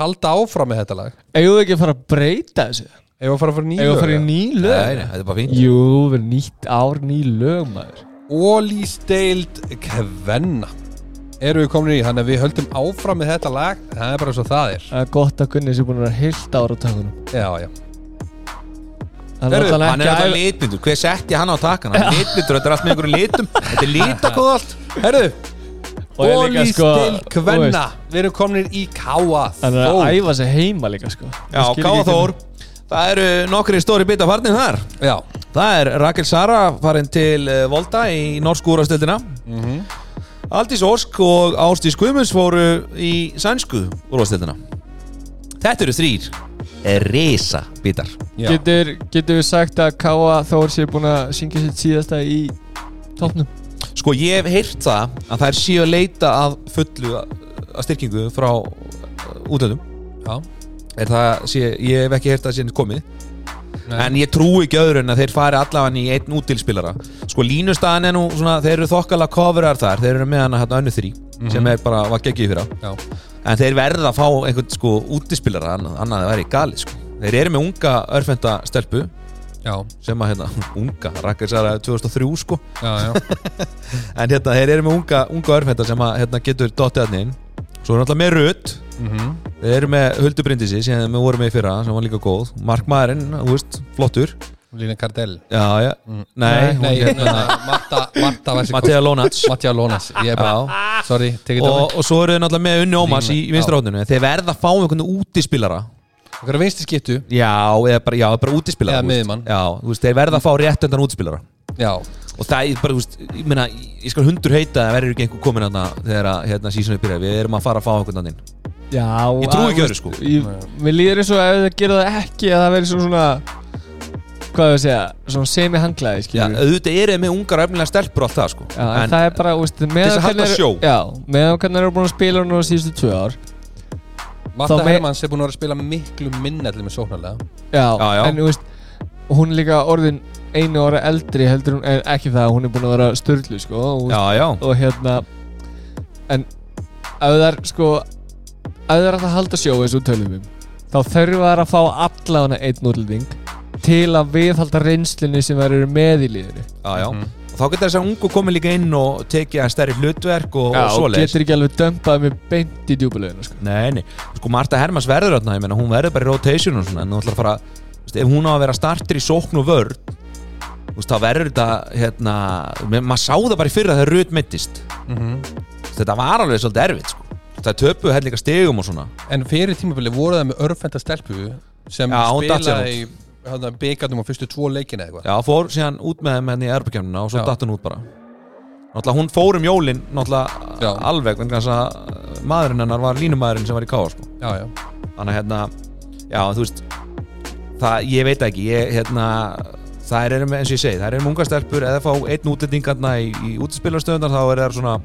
halda áfram með þetta lag Eigum við ekki að fara að breyta þessu? Ef að fara að fara nýja Eigum við að fara í ný nei, lög? nei, þetta er bara fínt Jú, við erum nýtt ár, ný lög maður Ólýstild kvenna Erum við komin í, þannig að við höldum áfram með þetta lag Það er bara svo það er Það er gott að Gunni sé búin að vera heilt ára á takunum Já, já Heyrðu, Hann náttúrulega Hann er alltaf ekki að- litmyndur, hver setti hann á takan? Hann er litmyndur, þetta er allt með einhverjum litum Þetta er litakóð allt Herðu, Og ég líka, sko, Ólýstild þú kvenna veist, Við erum komin í Káa Hann er Þór. að æfa sig heima líka sko Já, Ég skil ekki Káa Þór hvernig- Það eru nokkri stóri bita farnir þar Já, Það er Rakel Sara farin til eh, Volta í norsku úrastöldina Aldís Ósk og Ástís Guðmunds fóru í sænsku úrastöldina Þetta eru þrýr Risa bítar Já. getur, getur við sagt að Káa Þór sé búin að syngja sitt síðasta í topnum Sko ég hef heyrt það að það er síu að leita að fullu að að styrkingu frá eh, útlöndum Já. Er það, sé, ég hef ekki heyrt það síðan komið Nei. En ég trúi ekki öðru en að þeir fari allavega í einn útilspilara Sko línustaðan er nú svona, þeir eru þokkala coverar þar Þeir eru með hana hérna önnu þrý sem er bara, var geggið fyrir á Já. En þeir verða að fá einhvern sko útispilara annað, annað að vera í gali sko Þeir eru með unga örfenda stelpu Já, sem að hérna, unga, rakkar sér að 2003 sko já, já En hérna, þeir eru með unga, unga örfenda sem að hérna, getur dottið hann inn Svo er náttúrulega með Rut Mhm. Þeir eru með Huldu Bryndisi sem við vorum með í fyrra sem var líka góð Mark Maðurinn, þú veist, flottur Lína Kardell Já, já, nei, Nei, hún nei hérna hérna, Marta, Marta Vessikó Mattea Lónats Mattia Lónas Ég er bara, sorry, tekið það og, og svo eru þeir náttúrulega með Unni Ómas í Línu, vinstra hóttinu Þeir verða að fá einhvern útispilara Okkur er vinstri skiptu Já, eða bara, já, bara útispilara Eða þú veist. miðjumann. Já, þú veist, þeir verða að fá rétt undan útispilara Já, og það er bara, þú veist, ég meina ég skal hundur heita að verður ekki einhver komin hana þegar að, hérna, sísunni byrja, við erum að fara að fá einhvern annan inn. Já, Ég trúi ekki öðru, sko. ég, Mér líður eins og ef það gera það ekki að það veri svona svona hvað við segja, svona semi-hanglaði Já, skilur við. auðvitað eru þeir með ungar og efnilega stelpur og allt það, sko Já, en, það er bara, veist, þess að halda sjó. Já, meðan hvernig eru búin að spila núna síðustu tvö ár Marta Þá me- Hermanns er búin að vera að spila miklu minna allir með sóknarlega Já, Já, já. en þú veist hún er líka orðin einu ára eldri heldur hún, en ekki það, hún er búin að vera störlu sko, og, Já, já, og hérna en ef það er sko ef það er hægt að halda sjó eins og við tölum um þá þurfa það að fá allavega einn útlending til að viðhalda reynslunni sem þær eru með í liðinu já, já Og Þá getur þess að ungu komið líka inn og tekið að stærri hlutverk og, og og svoleiðis getur ekki alveg dömpað með beint í djúbuleginu sko. Nei, nei, sko Marta Hermans verður þarna, ég meina hún verður bara í rotation og svona en hún ætlar að fara, þú veist, ef hún á að vera startur í sókn og vörn þú veist, þá verður þetta, hérna me- maður sá það bara í fyrra þegar Rut mittist þetta var alveg svolítið erfitt, sko það töpu hellinga stegum og svona En fyrir tímabili voru það með örfenda stelpu sem Já, hún datt sér spilaði í byggarnum á fyrstu tvo leikina eitthvað Já, fór síðan út með þeim henni í erbakefnuna og Já. svo datt hún út bara Náttúrulega hún fór um jólin náttúrulega Já. alveg vegna þess að maðurinn hennar var línumaðurinn sem var í káa sko. Já, já Þannig að hérna, já þú veist það, ég veit ekki ég, hérna, það er eins og ég segi það er um unga stelpur eða fá einn útlendingarna í, í útispilarstöðunar þá er það svona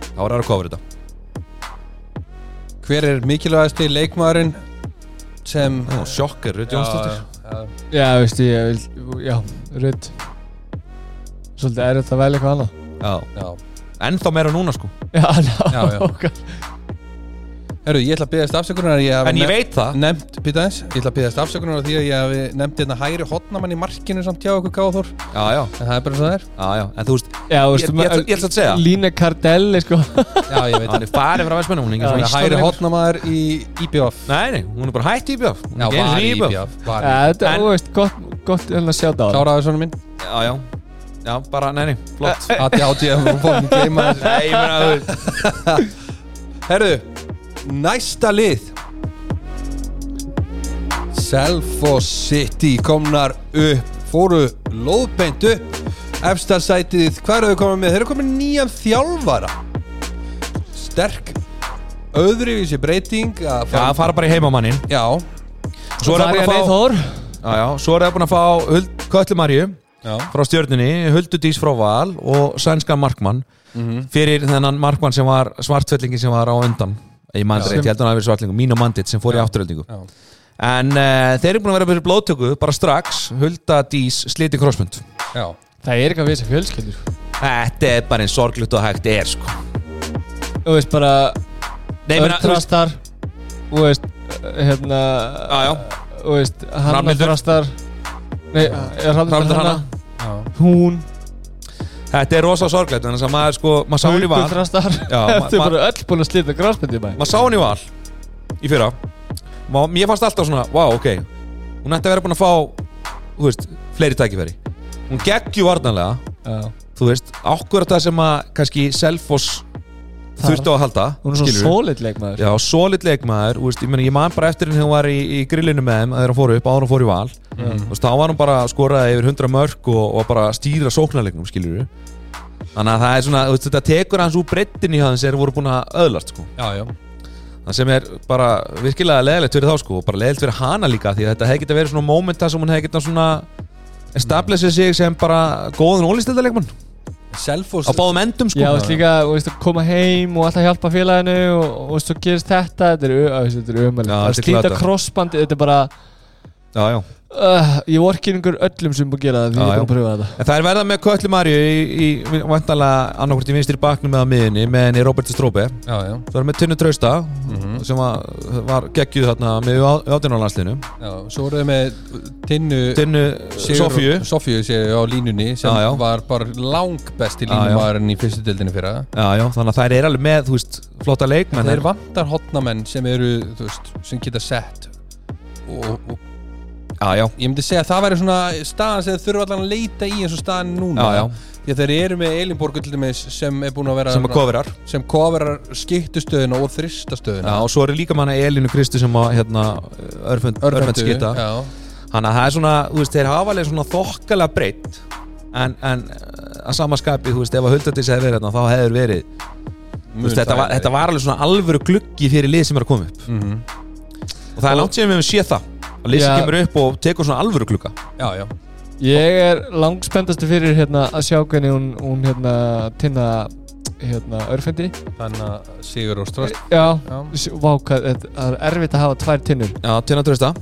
þá er það að kofra þetta Hver er mikilvægasti leikmaðurinn sem Nú, sjokkar, Rutt Jónsdóttir Já, já, veistu, ég vil, já, rödd svolítið er þetta vel eitthvað annað Já. já, já. ennþá meira núna sko já, ná, Já, já. ok. Herru, ég ætla að byggast afsökunar að ég hafi en e- ég nef- veit það nefnt, býta eins, ég ætla að byggast afsökunar á því að ég hafi nefnt hérna hægri hotnamann í markinu samt hjá okkur gáður en já, já, það er bara svo það er já, já. en þú veist, Já, þú veist, Ég- ég ætla- ég ætla að segja. Lína Cardelli, sko Já, ég veit hann er farið frá vestmennum hún er Hún er engin svona hægri Ísland- hotnamaður í IBF Nei, nei, hún er bara hætt í IBF Hún Já, er ekki einu var í sinni í IBF IBF var í- Já, Þetta En- er, þú veist, gott, gott hérna að sjá það Kláraðu svona minn Já, já, já, bara, nei, nei, flott Hati átti að hún fórum gleyma þessu Nei, ég meina, þú veist Herru, næsta lið Selfoss City komnar upp fóru lóðbeint upp efstarsætið, hvað eru þau komið með? Þeir eru komið nýjan þjálfara sterk öðruvísi breyting að Já, fara- fara bara í heimamannin já, Svo er það búin að fá Þór Já, já, svo er það búin að fá Huld Kötlumarju já. frá stjörnunni Huldu Dís frá Val og sænska Markmann Mhm. Fyrir þennan Markmann sem var svartfellingin sem var á undan Ég mann þetta, ég held hann að vera svartfellingin Mín og Mandit sem fór í afturöldingu já. En uh, þeir eru búin að vera byrja blóðtöku bara strax Hulda Dís sliti krossmund já. Það er eitthvað við þessar fjölskyldur Þetta er bara einn sorglut og hægt er sko Þú veist, bara Nei, ég meina, þú veist- Örtrastar Þú veist, hérna Já, já. Þú veist, Hanna Rafnhildur. Þrastar Nei, Rafnildur Hrafnhildur Hanna Hanna. Hún Þetta er rosa sorglegt Þannig að maður sko, maður sá hann í val Þrastar Já, ma- Þetta er ma- bara öll búin að slita gráspindi bæ Maður sá hann í val Í fyrra Ma- Mér fannst alltaf svona, wow, ok Hún ætti að vera búin að fá Þú veist, fleiri tækifæri Hún geggju varnarlega Já Þú veist, akkurat það sem að kannski Selfoss þurfti á að halda Hún er svo skilurðu. sólit leikmaður Já, solid leikmaður, þú veist, ég, meni, ég man bara eftir henni hún var í, í grillinu með þeim þegar hún fór upp, áður hún fór í val þú veist, þá var hún bara að skoraði yfir 100 mörg og, og bara að stýra sóknarleiknum, skilur við þannig að það er svona, þú veist, þetta tekur hans úr breyttin í hafðin sem þeir voru búin að öðlast, sko já, já. það sem er bara virkilega leðilegt fyrir þá sko og bara leðilegt fyrir hana líka því að þetta hefði getið verið svona momenta sem hún hefði getið svona established sig sem bara góðan ólýstildaleikmann á Selfos báðum endum sko Já, þú veist líka, þú veist, að koma heim og alltaf hjálpa félaginu og, og svo gerist þetta, þetta er, au- að, þetta er Já, umælið. Að þetta er slíta glatað. krossbandi, þetta er bara, já, já. uh, ég vorkin yngur öllum sem búið að gera það, því Já, ég er já. búin að pröfa þetta. En það er verða með Köllu Marju í, í, í vantanlega annarkvort í vinstri baknum eða miðinni með henni Robert Stróbe Já, já, Svo erum við Tinnu Trausta sem var, var geggjuð þarna með átjónarlandslinu já Svo voruðu með Tinnu Tinnu Sigur- Sofíu Sofíu séu á línunni sem Já, já. var bara langbesti Já, já. línumarinn í fyrstu deildinni fyrra Já, já, þannig að þær er alveg með, þú veist, flotta leikmenn Það er vantar hotnamenn sem eru, þú veist, sem geta sett og, og Já, já, ég myndi segja að það væri svona staðan sem þeir þurfa allan að leita í eins og staðan núna Já, já. Því að þeir eru með Elinborg til dæmis sem er búin að vera sem að kofirar sem koverar skiptustöðuna og þristastöðuna Já, og svo eru líka manna Elinu Kristi sem að, hérna, örfend, örfend skita já, Þannig að það er svona, þú veist, þeir hafa alveg svona þokkala breytt En, en eh, að sama skapi, þú veist, ef að Huldardís hefði verið þarna, þá hefur verið Þú veist, þetta, var, þetta var alveg svona alvöru gluggi fyrir lið sem er að koma upp Mhm. og það er langt síðan við hefum séð það að lið sem Já. kemur upp og tekur svona alvöru glugga já, já, Ég er langspendastu fyrir hérna að sjá hvernig hún, hún hérna, tinna, hérna, örfendi. þannig að Sigur og Strast Já, Já. s- vá, hvað, þetta- það er erfitt að hafa tvær tinnur. Já, Tina Trösta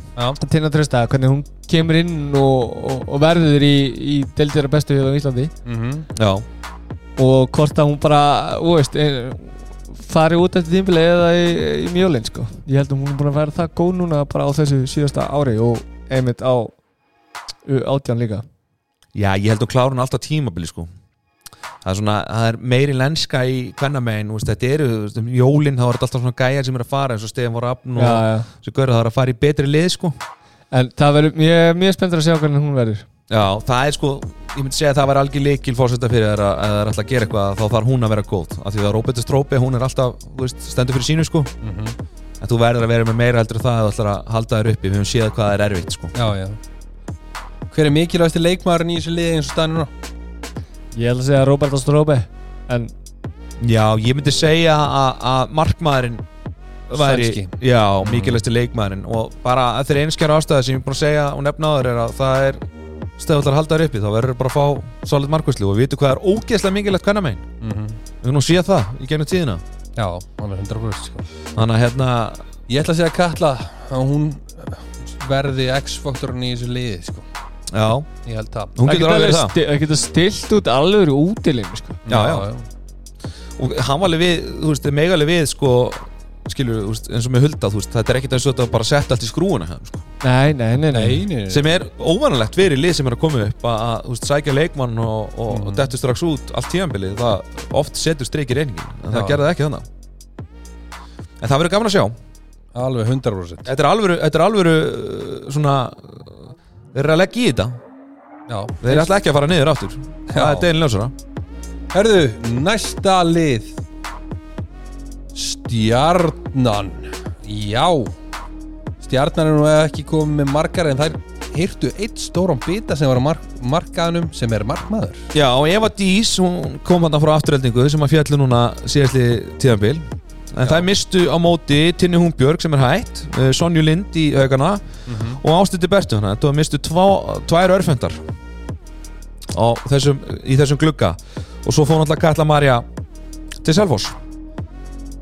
Tinna Trösta, hvernig hún kemur inn og, og, og verður í, í deildjara bestu hér á Íslandi mm -hmm. Já, og hvort að hún bara, þú veist, er, fari út eftir tímfili eða í, í mjólinn, sko. Ég held að hún er búin að vera það góð núna bara á þessu síðasta ári og einmitt á átján líka. Já ég held að klára hún alltaf tímabili sko það er svona, það er meiri lenska í kvennamegin, þú veist, þetta eru þú veist, um jólin, þá er þetta alltaf svona gæjar sem er að fara eins og Stefán voru afn og Já, já. svo görðu það er að fara í betri lið sko En það verður, ég er mjög spenntur að sjá hvernig hún verður. Já, það er sko, ég myndi segja að það væri algjör leikil fórsetta fyrir þær að, að það er alltaf að gera eitthvað þá þarf hún að vera góð, af því að Róbertus Strópi hún er alltaf, þú veist, stendur fyrir sínu sko mhm. en þú verður að vera með meira heldur en það eða ætlar að halda þér uppi, við höfum séð hvað það er erfitt sko. já, já hver er mikilvægasti leikmaðurinn í þessu liði eins og staðan núna Ég held að segja Róbert Ástróbe, en Já, ég myndi segja að- að markmaðurinn væri, Sænski. já, mikilvægsti leikmaðurinn og bara að þeir einskjara ástæða sem ég er búin að segja og nefna áður er að það er stöðvallar að halda þér uppi, þá verður bara að fá solid markvæslu og við vitum hvað er ógeðslega mikilvægt hvernig megin, við höfum nú séð það í gennum tíðina, já, hann er 100% sko. þannig að hérna ég ætla að segja að Katla að hún verði X-faktorinn í þessu liði sko. Já, ég held það hún getur alveg verið það það getur stilt út alveg úr útilinu, sko. Já, já, og hann var alveg við, þú veist, mega alveg við sko, skilur, þú veist, eins og með hulda þú veist, þetta er ekkert eins og þetta var bara sett allt í skrúuna hjá þeim, sko. Nei, nei, nei, nei. Nei, nei, nei. sem er óvanalegt fyrir lið sem er að koma upp að, að þú veist, sækja leikmann og, og, og dettu strax út allt tíðanbilið, það oft setur streik í reyningin, en Já. það gerði það ekki þannig en það verður gaman að sjá alveg 100% þetta er alvöru, þetta er alvöru uh, svona, uh, þeir eru að leggja í þetta já. þeir eru alltaf ekki að fara niður aftur það er deginlega svona, herðu, næsta lið Stjarnan já Stjarnan er nú ekki komið með margar en þær hirtu eitt stóran bita sem var á mark markaðnum sem er markmaður já og Eva Dís hún kom hann frá afturheldingu sem að fjallu núna síðastli tíðanbil en það mistu á móti Tinni Húnbjörg sem er hætt, uh, Sonju Lind í augana og Ástuti Bertu þannig að það mistu tvá, tvær örfendar á þessum, í þessum glugga og svo fór náttúrulega Katla Marja til Selfoss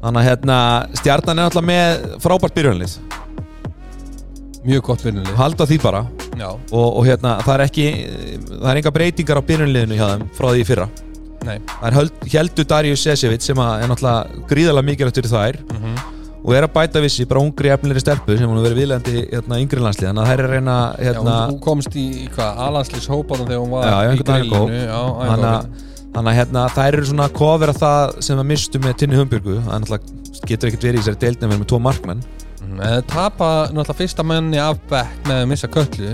þannig að hérna, stjarnan er náttúrulega með frábært byrjunlið, mjög gott vinnulið halda því bara já, og, og hérna, það er ekki það er enga breytingar á byrjunliðinu hjá þeim frá því í fyrra nei Það er höld- héldu Darius Sesevit sem að er náttúrulega gríðalega mikilvægt fyrir þær og er að bæta vissi, bara ungri efnilegri stelpu sem hún hefur verið viðlegandi hérna, yngri landslið þannig að þær er að reyna Já, hún, hérna, hún komst í, í hvað, alanslýs hópaðan þegar hún var Já, já, í einhvern veginn grillinu, góð. já, þannig að Þannig að hérna, þær eru svona að kofera það sem að mistu með Tinni Humbjörgu Það er náttúrulega getur ekkert verið í þessari deildin að vera með tvo markmenn Mhm. En það tapa náttúrulega fyrsta manni af bekk með að missa köllu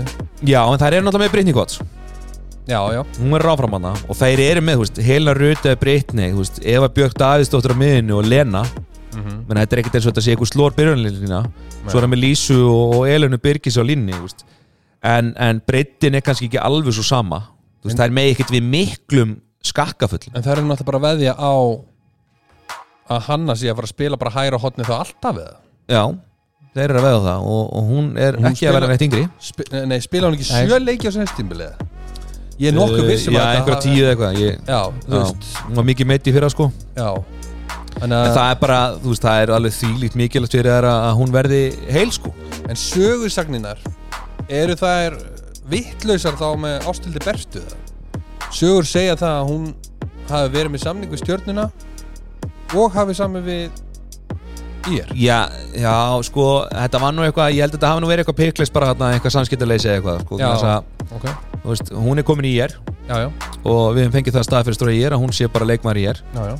Já, en þær eru náttúrulega með Brittany Gotts Já, já, Hún verður áfram hana og þær eru með, þú veist, Helena Ruta eða Brittany þú veist, Eva Björk Davidsdóttir á miðinu og Lena menn þetta er ekkert eins og þetta sé eitthvað slór byrjunlínina svo er það með Lísu og Elinu Birgis á línni þú veist. en, en breytin er kannski ekki alveg svo sama Þú veist, það er með ekkert við miklum skakkafull en það eru náttúrulega bara að veðja á að hanna sé að fara að spila bara hæra hotni þá alltaf eða Já, þeir eru að veða það og, og hún er Hún ekki að vera spilar- neitt yngri Sp Nei, spila hún ekki Nei. sjö leiki á sérstýmbilið Ég er nokkuð um Eh, vissum Já, einhverja tíu eða eitthvað ég, Já, þú já, veist, Hún var mikið meitt í fyrra sko já Þannig En að, það er bara, þú veist, það er alveg þýlíkt mikilvægt fyrir þær að að hún verði heil sko en sögursagninar eru þær vittlausar þá með ástildi berstu það Sögur segja það að hún hafi verið með samning við stjörnuna og hafi samið við ír Já, já, sko, þetta var nú eitthvað ég held að þetta hafi nú verið eitthvað piklis bara þarna eitthvað samskiptaleysi eða eitthvað sko, Já. þess að, Ok, þú veist, hún er komin í ég já, já, og við hefum fengið það stað fyrir stóra ég að hún sé bara leikmar í ég já, já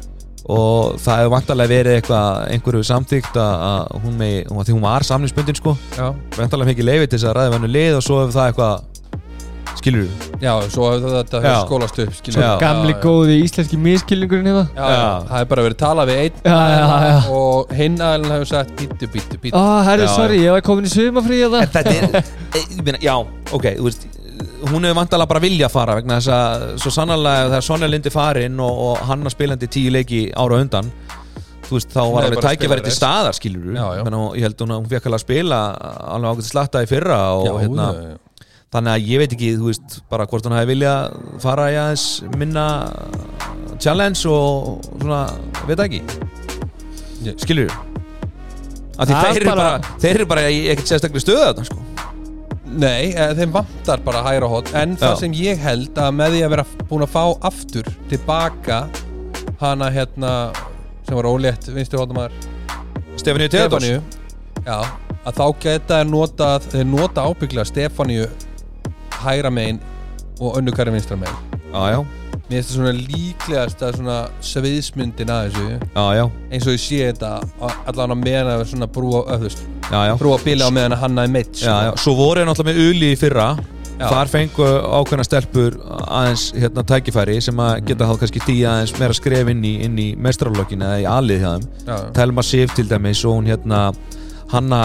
og það hefur vantarlega verið eitthvað einhverju samþygt að að hún megi, hún, því hún var samlingsbundin sko, Já, vantarlega mikið leiði til þess að ræða vennu lið og svo hefur það eitthvað skilur þú? já, svo hefur þetta Já. hefur skólast upp skilur Já. við. Gamli já, já. góði íslenski miskilningurinn hérna Já, já, Já. það hefur bara verið talað við einn Já, já, já. og hinn aðeins hefur sagt bítu, bítu, bítu Ó, herri, Já, sorry, ég var komin í hérna. sumafrí eða En þetta er, e, ég meina, já, ok, þú veist hún hefur vantarlega bara vilja að fara vegna þess að svo sannarlega ef það er Sonja Lindi farin og, og hann að spilandi tíu leiki ára á undan þú veist, þá Nei, var alveg bara tækifæri til spilarist. staðar skilur Já, já. Menna, ég held hún að hún fekk alveg að spila alveg ákveð slatta í fyrra og hérna, já, já. þannig að ég veit ekki, þú veist, bara hvort hún hafi vilja fara í aðeins minna challenge og svona, veit það ekki Ég- skilur að því Það er þeir eru bara, bara- þeir eru bara í ekkert sérstaklega stöða þarna sko Nei, eh, þeim vantar bara hæra hot en það Já. sem ég held að með því að vera búin að fá aftur tilbaka hana hérna sem var ólétt vinstri hóttamæður Stefaníu Teodors Já, að þá geta þeir nota þeir nota ábygglega Stefaníu hæra megin og önnu kæri vinstra megin Já, já, Mér finnst það svona líklegast að svona sviðsmyndin að þessu já, já, eins og ég sé þetta a- allan á meðan að svona brúa öðvist já, já. brúa bíla á meðan að hanna er sko. meitt já, já. Svo voru ég náttúrulega með Uli í fyrra Já. Þar fengu ákveðna stelpur aðeins hérna tækifæri sem að Mm. geta þá kannski tíja aðeins meira skref inn í, inn í mestrarlokkin eða í alið hjá þeim Já, já. Telma Sif til dæmis og hún hérna Hanna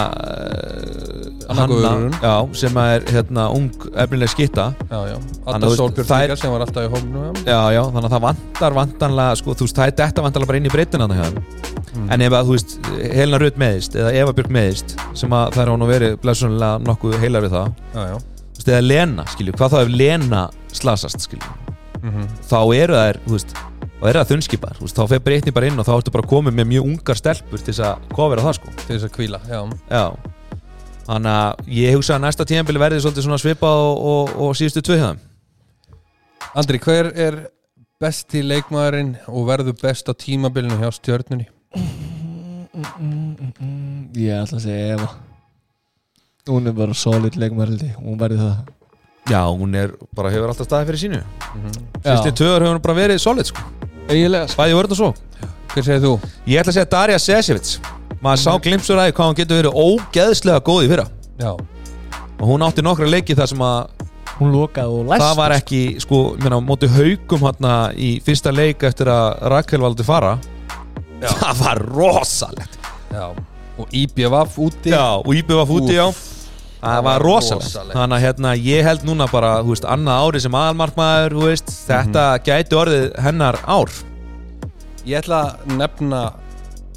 uh, Hanna Guðrún. já, sem að er hérna ung efnileg skitta Já, já, Þannig að Adda þú- Solbjörn það er- líka sem var alltaf í hófnum já. Já, já, þannig að það vantar vantanlega sko, þú veist, það er þetta vantanlega bara inn í breytina þannig að Mhm. en ef að, þú veist, Helena Rutt meðist eða Eva Björk meðist sem að það er hún að veri blessunlega nokkuð heilar við það Já, já, þú veist, eða Lena, skilju, hvað þá ef Lena slasast, skilju Mhm. þá eru þær, þú veist, þá eru það þunnskipar þú veist, þá fer breytni bara inn og þá ertu bara komið með mjög ungar stelpur til þess að kofera það, sko til þess að kvíla já. Já Þannig að ég hugsa að næsta tíðanbili verði svolítið svona svipað og, og, og síðustu tvö hjá þeim Andri, hver er besti leikmaðurinn og verður best á tímabilinu hjá stjörnunni? Mm, Ég ætla að segja Eva Hún er bara solid leikmærldi Hún verði það Já, hún er, bara hefur alltaf staðið fyrir sínu Fyrstu Já, tvöður hefur hún bara verið solid sko. eiginlega sko. Bæði vörð og svo Hver segir þú? Ég ætla að segja Darja Sesevits Maður sá glimpsur aðeins hvað hún getur verið ógeðslega góð í fyrra Já, Og hún átti nokkra leiki þar sem að Hún lokaði og læst Það var ekki, sko, mérna, móti haugum hérna í fyrsta leik eftir að Rakel valdi fara Já. Það var rosalegt já Og IBVF úti Já, og Íbjöf var fúti, já Það var rosalegt rosalegt. Þannig að hérna, ég held núna bara, þú veist, annað ári sem aðalmarkmaður, þú veist Þetta gæti orðið hennar ár Ég ætla að nefna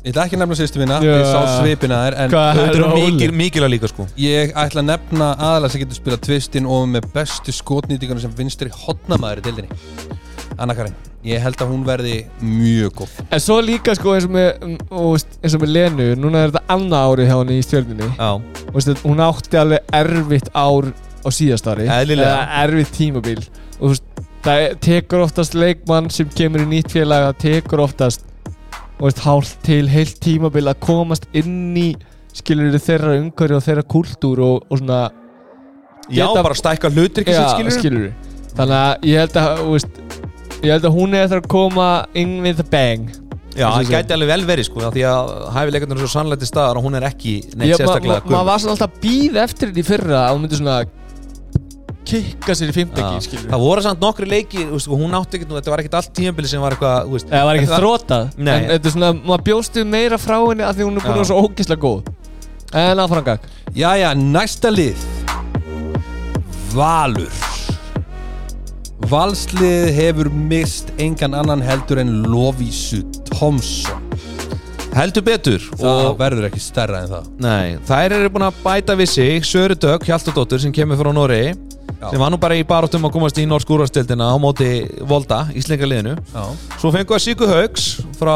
Ég ætla ekki að nefna sýstu mína Já. Ég sá svipina þær En Hvað Þau er eru róleg? mikil, mikil að líka, sko ég ætla að nefna aðalega sem getur spilað tvistin og með bestu skotnýtingunum sem vinstri hotnamaður í dildinni Anna Karin, ég held að hún verði mjög góð En svo líka sko eins og með, um, og veist, eins og með Lenu Núna er þetta annað árið hjá henni í stjörninni Já, Og veist, þetta- Hún átti alveg erfitt ár á síðast ári Eðlilega. Eða Erfitt tímabil Og þú veist, það er- tekur oftast leikmann sem kemur í nýtt félag Það tekur oftast og veist, hálft til heilt tímabil að komast inn í skilur þeirra umhverju og þeirra kultúr og, og svona já Geta- bara stækka hlutur ekki sitt, skilur skilur Þannig að ég held að, þú veist, ég held að hún er eftir að koma in with a bang Já, Þessi það sem- gæti alveg vel verið sko af Því að hæfileikarnir eru svo sannlega til staðar og hún er ekki neitt Ég- ma- sérstaklega ma- Maður var svona alltaf bíð eftir þetta í fyrra að hún myndi svona kikka sér í fymtaki, skilur Það voru samt nokkri leiki, þú veist, og hún átti ekkert nú Þetta var ekkert allt tímabili sem var eitthvað, þú veist Eða var ekki þetta- þrótað Nei. En þetta er svona, maður bjóstu meira frá henni að því hún er búin að Já. vera svo ógeðslega góð En áframgag Jæja, næsta lið Valur Valslið hefur mist engan annan heldur en Lovísu Tomsson heldur betur Það og verður ekki stærra en það nei, þær eru búin að bæta við sig Söru Dögg, Hjaltadóttur sem kemur frá Noregi Já. sem var nú bara í baráttum að komast í norskúrastildina á móti Volda, Íslingaliðinu Já, Svo fengum við Sigur Haugs frá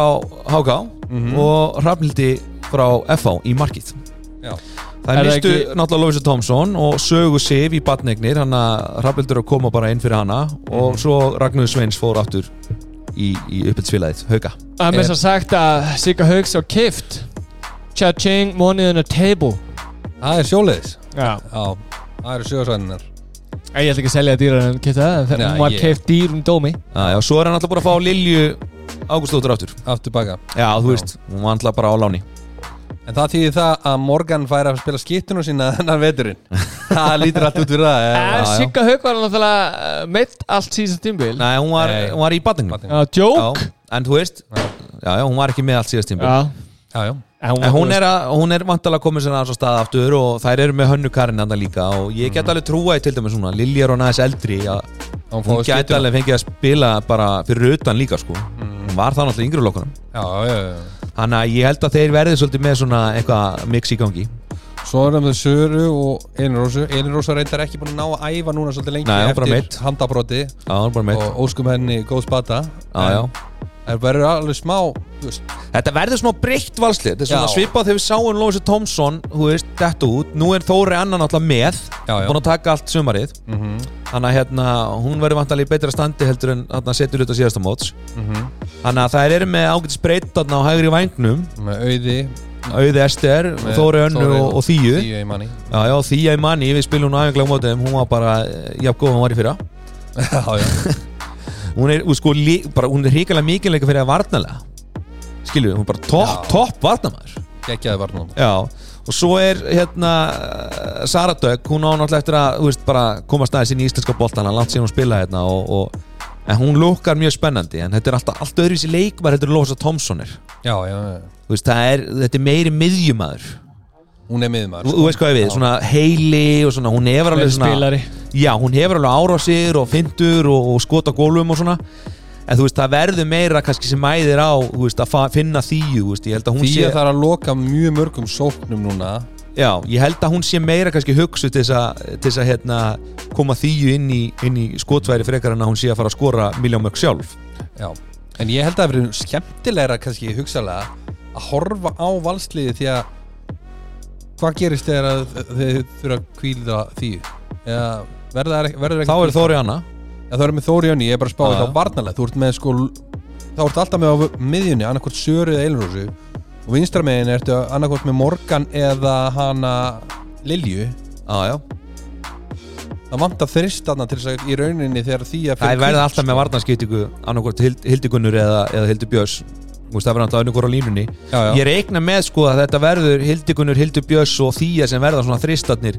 HK Mhm. og Hrafnildi frá FH í markið já, Er Það er það mistu ekki- náttúrulega Lovisa Thompson og sögu Sif í batneignir hann að Hrafnildur er að koma bara inn fyrir hana Mhm. og svo Ragnar Sveins fór aftur í, í uppbyttsfélagið Hauka Það er með þess að sagt að Sigga Haugs á kift Cha-ching, money on a table það er sjóleiðis Já Já, það eru sjóðsvæðinar Ég ætla ekki að selja dýrar en kipta það Nei, Þegar hún var ég- kift dýr um dómi Já, já, svo er hann alltaf bara að fá Lilju Ágústóttur aftur Aftur baka Já, þú veist, hún var alltaf bara á láni En það þýðir það að Morgan fær að spila skiptinu sína þennan veturinn Það lítur allt út fyrir það En já, já. Eh, Sigga Haug var náttúrulega eh, meitt allt síðan tímbil Nei, hún var, Nei. Hún var í batneignum Barneignum. Já, Já, djók en þú veist Já, já, hún var ekki með allt síðast tímpil Já já, já. En hún er, að, hún er vantalega komin sér aðeins á stað aftur og þær eru með hönnu Karin andan líka og ég Mhm. get alveg trúaði til dæmis svona Lilja er hún aðeins eldri að Hún hún fór get skiptinu alveg fengið að spila bara fyrir utan líka sko Mm. hún var það náttúrulega í yngri lokkunum Já, já, já, já þannig að ég held að þeir verði svolítið með svona eitthvað mix í gangi Svo erum við Söru og Elinrósu Elinrósa reyndar ekki búin að ná að æfa núna svolítið lengi Nei, hún bara eftir meidd. handabroti Já, það er bara meitt og óskum henni góð spata Já, já. Það verður alveg smá þú veist, Þetta verður smá breytt valslið Þetta er svona Já. svipað þegar við sáum Lófis Tomsson Þú veist, þetta út Nú er Þóri annan alltaf með Já, Mhm. já. Búin að taka allt sumarið Þannig að hérna, hún verður vantalega í betra standi heldur en þarna setur hluta síðasta móts Mhm. Þannig að þær eru með ágætis breytt þarna á hægri vængnum með auði Mm. Auði Ester, Þóri Önnu og, og Þíu Þíu í manni Já, já, Þíu í manni, við spilum hún aðeinslega mótið Hún var bara, já, góð, hún var í fyrra Já, já, Hún er, hún sko, lí, bara, hún er hrikalega mikillega fyrir að varnalega Skilju, hún er bara topp, topp varnamaður geggjaði var núna Já, og svo er hérna eh, Sara Dögg, hún á náttúrulega eftir að þú veist, bara komast aðeins inn í íslenska boltana langt síðan hún spila hérna og, og, en hún lukkar mjög spennandi en þetta er alltaf allt öðruvísi leikmar þetta er Lósa Tomssonir Já, já, já þú veist, það er, þetta er meiri miðjumadur Hún er miðmaður þú, sko. þú veist hvað ég við, svona heili og svona, hún hefur alveg svona Spilari já, hún hefur alveg árásir og fyndur og, og skota gólfum og svona en þú veist, það verður meira kannski sem mæðir á þú veist, að fa- finna þýju, þú veist, ég held að hún Því sé að það er að loka mjög mörgum sóknum núna Já, ég held að hún sé meira kannski hugsu til þess að, til þess að hérna, koma þýju inn í, inn í skotværi frekar en að hún sé að fara að skora miljónmörk sjálf. Já En ég held að það verður skemmtilegra kannski hugsalega að horfa á valsliði því að hvað gerist þegar að þið þurfa að kvíla því eða verður það ekki verður Þá ekki er Þóri Anna. Já, það er með Þóri Jönni, ég er bara að spá Já, þetta já. á varnalega Þú ert með sko, þá ert alltaf með á miðjunni annarkvort Söru eða Eilrósu og vinstra meðin ertu annarkvort með Morgan eða hana Lilju Já, já. Það vantar þrist þarna til þess að í rauninni þegar því að sko. Það er verið alltaf með varnarskiptingu annarkvort Hild- Hildigunnur eða, eða Hildubjörs. Þú veist, það verður alltaf önnur á línunni. Já, já. Ég reikna með sko að þetta verður Hildigunnur, Hildubjörs og Þýja sem verða svona þristarnir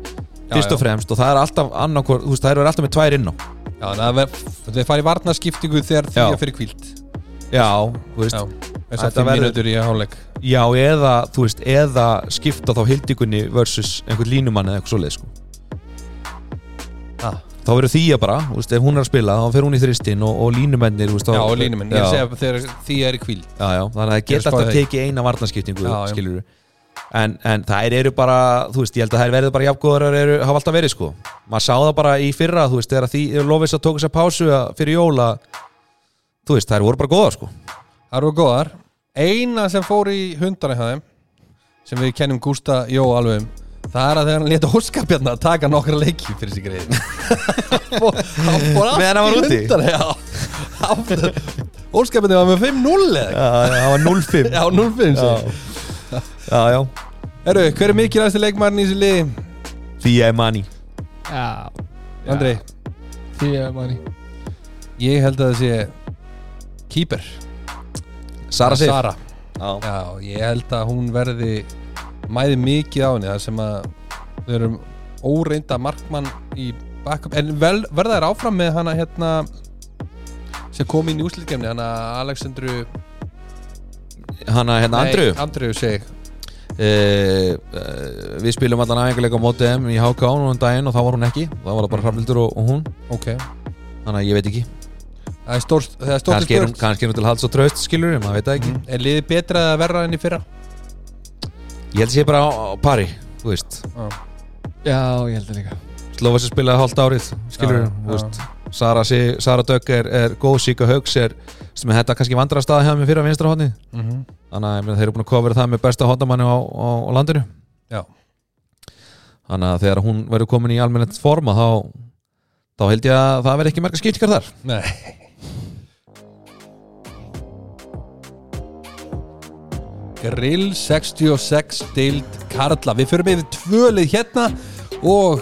fyrst og já. fremst og það er alltaf annarkvort, þú veist, það er alltaf með tvær inn á. Já, það ver, þeir fara í varnaskiptingu þegar því Já. að fyrir kvíld Já, þú veist, Já, þess Þetta að fimm verður- mínútur í hálfleik Já, eða, þú veist, eða skipta þá hildikunni versus einhvern línumann eða eitthvað svoleið, sko. ah. Þá verður þýja bara, þú veist, ef hún er að spila, þá fer hún í þristinn og, og línumennir, þú veist, þá... Já, og línuminn, ég er að Já, segja þegar því er í kvíld já, já, þannig að Ég er það að geta alltaf spá því. tekið eina varnaskiptingu, Já, já. skilur En, en þær eru bara, þú veist, ég held að þær verður bara jafngóðar og eru, hafa alltaf verið, sko. Maður sá það bara í fyrra, þú veist, þegar því Lofis að tók þess að pásu að- fyrir jóla, þú veist, þær voru bara góðar, sko. Það eru góðar Eina sem fór í hundana hjá þeim sem við kennum Gústa Jó alveg um það er að þegar hann leta óskapjarna að taka nokkra leiki fyrir sig greið Hann fór allt Meðan hann var í úti? hundana, já. Hann fór- Óskapjarna var með 5-0 eða Já, það var 0-5. Já, 0-5 segir. já, já. Herru, hver er mikilvægasti leikmærin í þessu liði? Þýja er manni. Já Andri, Því að manni ég held að það sé Keeper Sara Sif. Sara Já. Já, ég held að hún verði mæði mikið á henni þar sem að þau eru óreinda markmann í backup en vel, verða þær áfram með hana hérna sem kom inn í úslitgemni hana Alexandru Hanna, hérna, Andriðu. Nei, Andriu seg uh, við spilum allan aðeinkuleika á móti þeim í HK núna um daginn og þá var hún ekki þá var það bara Hrafnildur og, og hún Ok, þannig að ég veit ekki það Það er stórt það er stórt kannski er hún, spurt. kannski er hún til halds og traust skilur maður veit það ekki Er liðið betra eða verra enn í fyrra? ég held að sé bara á, á pari þú veist Já, ég held það líka Slófas er spilaði hálft árið skilur Já, já. þú veist Sara, sí, Sara Dögg er, er góð Sika Haugs er sem er þetta kannski vandra staða hjá mér fyrir að vinstra hótni Mm -hmm. þannig að ég meina, þeir eru búin að kofra það með besta hóttamanni á, á, á landinu Já. þannig að þegar hún verður komin í almennett forma þá, þá held ég að það verði ekki marga skýrtingar þar Nei Grill 66 deild Karla Við fyrir með tvölið hérna og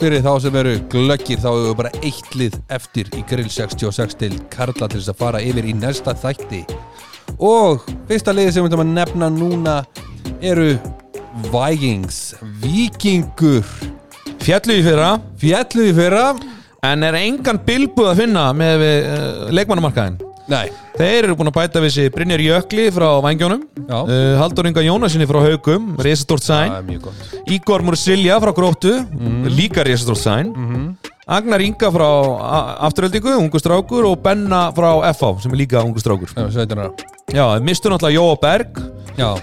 fyrir þá sem eru glöggir þá eru bara eitt lið eftir í Grill 66 deild Karla til þess að fara yfir í næsta þætti og fyrsta liði sem við ætlum að nefna núna eru Vikings Vikingur fjallu í fyrra Fjalluði fyrra en er engan bilbuð að finna með við, uh, leikmannamarkaðin Nei, þeir eru búin að bæta við sig Brynjar Jökli frá Vængjónum Já. uh, Haldur Inga Jónasinni frá Haugum Reisastort Sæn það er mjög gott Ígor Mursilja frá Gróttu Mhm. líka Reisastort Sæn Agnar Inga frá A- Afturöldingu ungu strákur og Benna frá FH sem er líka ungu strákur Já, 17 ára Já, þeir mistu náttúrulega Jóa Berg Já,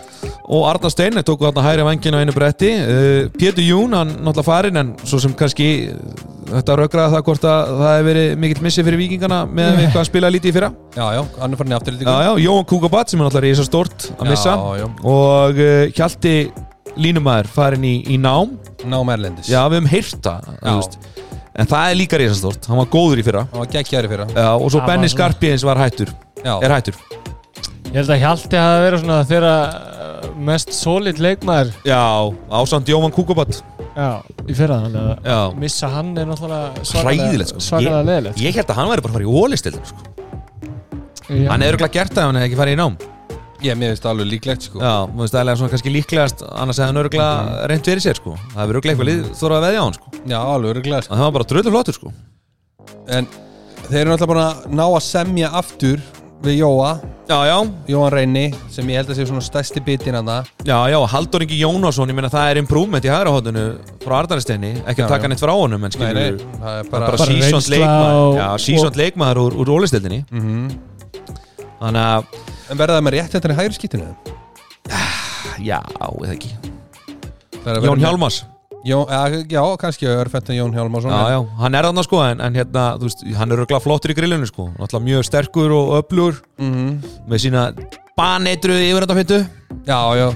og Arna Stein þeir tóku þarna hægri vangina á einu bretti uh, Pétur Jún, hann náttúrulega farinn en svo sem kannski uh, þetta rökraða það hvort að það hefur verið mikill missi fyrir vikingana með við hvað hann spilaði lítið í fyrra já, já, hann er farin í afturlítingu Já, já, Jóhann Kúkabat sem er náttúrulega reysa stort að Já, missa já. og uh, Hjalti Línumæður farin í, í nám Nám um Erlendis Já, við höfum heyrt það Já. þú veist. En það er líka reysa stort, hann var góður í fyrra Hann var geggjæri fyrir hann Já, og svo Það var Benni svona- Skarpiðins var hættur Já, er hættur Ég held að Hjalti hafi verið svona þeirra uh, mest solid leikmaður Já, ásand Jóhann Kúkabat Já, í fyrra þannig að Já missa hann er náttúrulega Hræðilegt svakalega sko. svakalega leðilegt Ég held að hann væri bara að fara í ólistildin sko. sko. Hann hefur ekki gert það ef hann hefði ekki farið í nám ég mér veist alveg líklegt sko Já, þú veist, það er svona kannski líklegast annars hefði hann örgla reynd verið sér sko. Það hefur örgla eitthvað lið þóra að veðja á hann sko. Já, alveg öruglega sko En það var bara dröldu flottur sko. En þeir eru náttúrulega bara að ná að semja aftur við Jóa Já, já, Jóan Reyni, sem ég held að sé svona stærsti bitin hann það já, já, Haldur Ingi Jónasson ég meina það er improvement í hægra hóttinu frá Ardaristeinni, ekki Já, já. að taka neitt frá honum en Nei, skilur nei, við- það er bara, bara, bara Bara sísond reynsla leikmaður og- Já, sísond leikmaður úr, úr ólistildinni Mhm. Þannig að, En verða það með rétt þetta í hægri skýtinu? já, eða ekki hérna- Jón Hjálmars Jón, ja, Já, kannski örfettin Jón Hjálmarsson Já, já, hann er þarna sko en, en hérna, þú veist, hann er örgla flottur í grillinu sko Náttúrulega mjög sterkur og öflugur Mhm. Með sína baneitru yfir þetta fyttu já, já,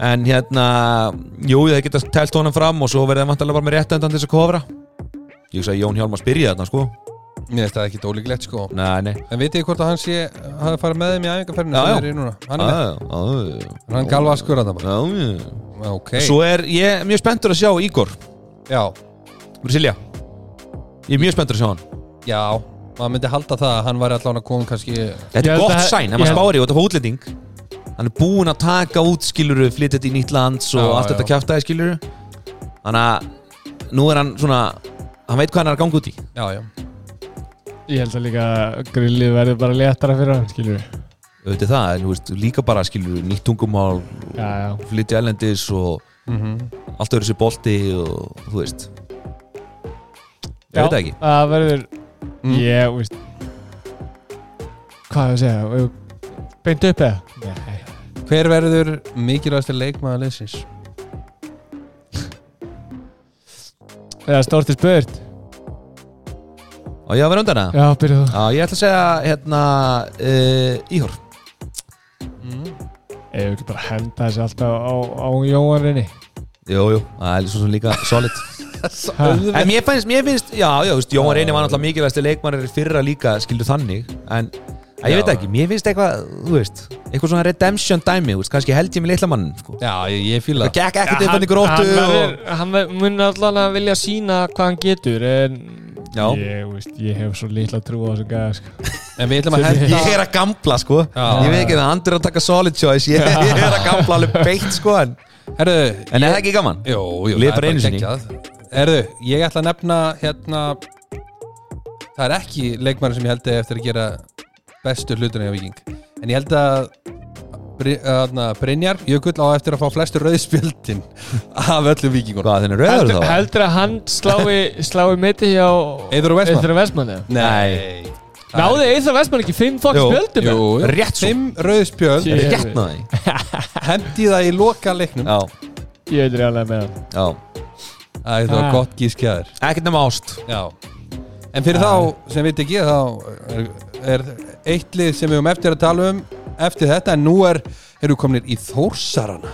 En hérna, jú, það geta telt honum fram Og svo verðið vantarlega bara með réttendan til þess að kofra Ég hugsa að Jón Hjálmar spyrja þarna sko mér veist það ekki dólíklegt sko Nei, nei En vitið þið hvort að hann sé, hafi farið með þeim í æfingarferðinu Já, sem já. þeir eru í núna? Hann er með, Já, Ah, já, já. hann galva að skurra það bara Já, já. Ok, Svo er ég mjög spenntur að sjá Ígor já, Brasilja Ég er mjög spenntur að sjá hann já maður myndi halda það að hann væri allan að koma kannski Þetta Ég er held gott að- sæn, ég ef maður held- spári og þetta er útlending Hann er búinn að taka út skiluru flytja þetta í nýtt lands og Já, allt já. þetta kjaftaði skiluru Þannig að nú er hann svona hann veit hvað hann er að ganga út í Já, já, Ég held að líka grillið verði bara léttara fyrir hann skilur við auðvitað það, en þú veist, líka bara skiluru nýtt tungumál, Já, já flytja ælendis og allt öðru sér bolti og þú veist Ég veit það ekki Það verður Mm. Ég, veist Hvað er að segja Eigum- Beint upp eða? Nei Hver verður mikilvægastir leikmaður leysins? Eða stórti spurt Og ég að vera undan það Já, byrjuð þú Já, ég ætla að segja hérna uh, Íhor Ég vil ekki bara henda þessu alltaf á, á Jóhanninni Jú, jú, það er svo sem líka solid Auðvitað En mér finnst, mér finnst, já, já, þú veist, Jóhann Reyni var náttúrulega mikilvægasti leikmannir fyrra líka, skildu þannig En, að ég Já. veit ekki, mér finnst eitthvað, þú veist, eitthvað svona redemption dæmi, þú veist, kannski held ég með litla mann, sko Já, ég, ég fíla Það það gekk ekkert eitthvað í hann, gróttu og... verður- hann ver- mun allan að vilja sína hvað hann getur en Já. ég, veist, ég hef svo litla trú á þessum gæða sko. En við ætlum að Ég henda er að gamla, sko Já. Ég veit ekki það, Andri er að taka solid choice Ég, ég er að gamla alveg beitt, sko En, Herðu, en er það ekki gaman? jú, jú, það Lið er bara einu sinni. geggjað. Herðu, ég ætla að nefna hérna Það er ekki leikmaður sem ég held að eftir að gera bestu hlutina hjá Viking En ég held að Bry- hérna, Brynjar Jökull á eftir að fá flestu rauðspjöldin af öllum vikingunum Hvað, þenni rauður heldur, þá? heldur að hann slái, slái meti hjá Eiður og Vestmann? Eiður og Vestmann eða? Nei. Náði Eithar Vestmann ekki fimm fokk Jú, spjöldum? Jú, jú. Rétt svo, Fimm rauðspjöld Shit. rétt náði Hendi það í loka leiknum Já, Ég veit reyðlega með hann já Æ, það var Ah. gott gískjaður Ekkert nema ást Já En fyrir þá sem veit ekki þá er, er eitt lið sem við um eftir að tala um eftir þetta en nú er, eru kominir í Þórsarana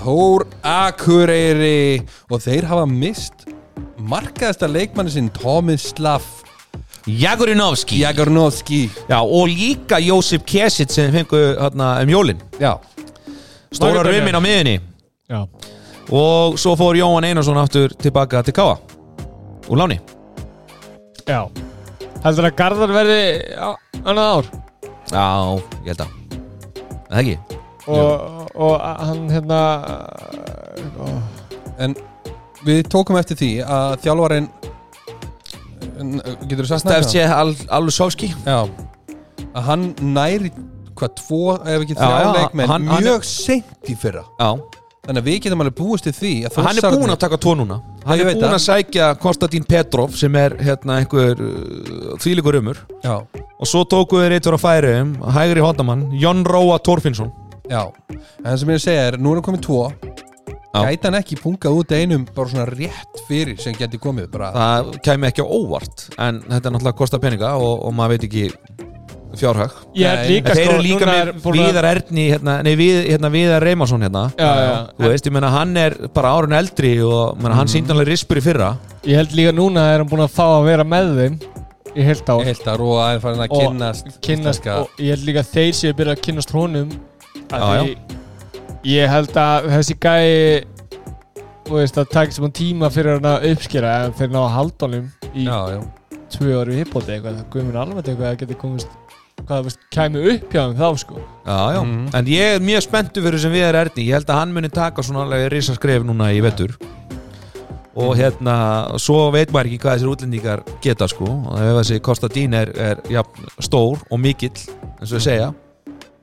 Þór Akureyri og þeir hafa mist markaðasta leikmanni sinn Tomislav Jagurinovski Jagarnovski Já, og líka Jósip Kesic sem fengu hérna um jólin Já, Stóra Magnús rumin á miðinni Já Og svo fór Jóhann Einarsson aftur tilbaka til Káa Úr láni Já Heldur að Garðar verði á- annað ár Já, ég held að Er Það ekki? og, og hann hérna uh, ó, en við tókum eftir því að þjálfarin getur þú sagt nafnið á honum? Stefsje Alusovski Já að hann næri hvað tvo ef ekki Já, þrjá já, leikmenn hann- hann- mjög seint í fyrra Já, þannig að við getum alveg búist til því að hann er Þórsararnir- búinn að taka tvo núna Hann ég er veit búinn það. að sækja Konstantín Petrov sem er hérna einhver uh, þvílíkur umur já, og svo tóku þeir eitthvað að færi um hægri hóndamann, Jón Róa Torfinnsson já en það sem ég er að segja er nú er hann komið tvo Já. gæti hann ekki pungað út einum bara svona rétt fyrir sem geti komið bara það kæmi ekki á óvart en þetta er náttúrulega að kosta peninga og, og maður veit ekki fjárhag Ég er Nei, líka þeir eru líka sko, núna með er búin að- Viðar Erni hérna, nei, við, hérna, Viðar Reymarsson hérna Já, já, þú veist, ég meina hann er bara árun eldri og menna, Mhm. hann sýndi alveg rispur í fyrra Ég held líka núna að er hann búin að fá að vera með þeim í heilt ár heilt að róa er farin að Og kynnast kynnast, íslenska- og ég held líka að þeir séu byrjað að kynnast honum að Já, já. því ég held að þessi gæi þú veist að taka sem hún tíma fyrir hann að uppskera en þeir ná að halda honum í já, já, tvö ári hippóti eitthvað það guðmur alveg eitthvað að geti komist hvað það veist, kæmi upp hjá þeim þá sko já, já. en ég er mjög spenntu fyrir sem Viðar Erni ég held að hann muni taka svona alveg risaskref núna í vetur og hérna, svo veit maður ekki hvað þessir útlendingar geta sko og ef þessi Kostadín er, er ja, stór og mikill, eins og við segja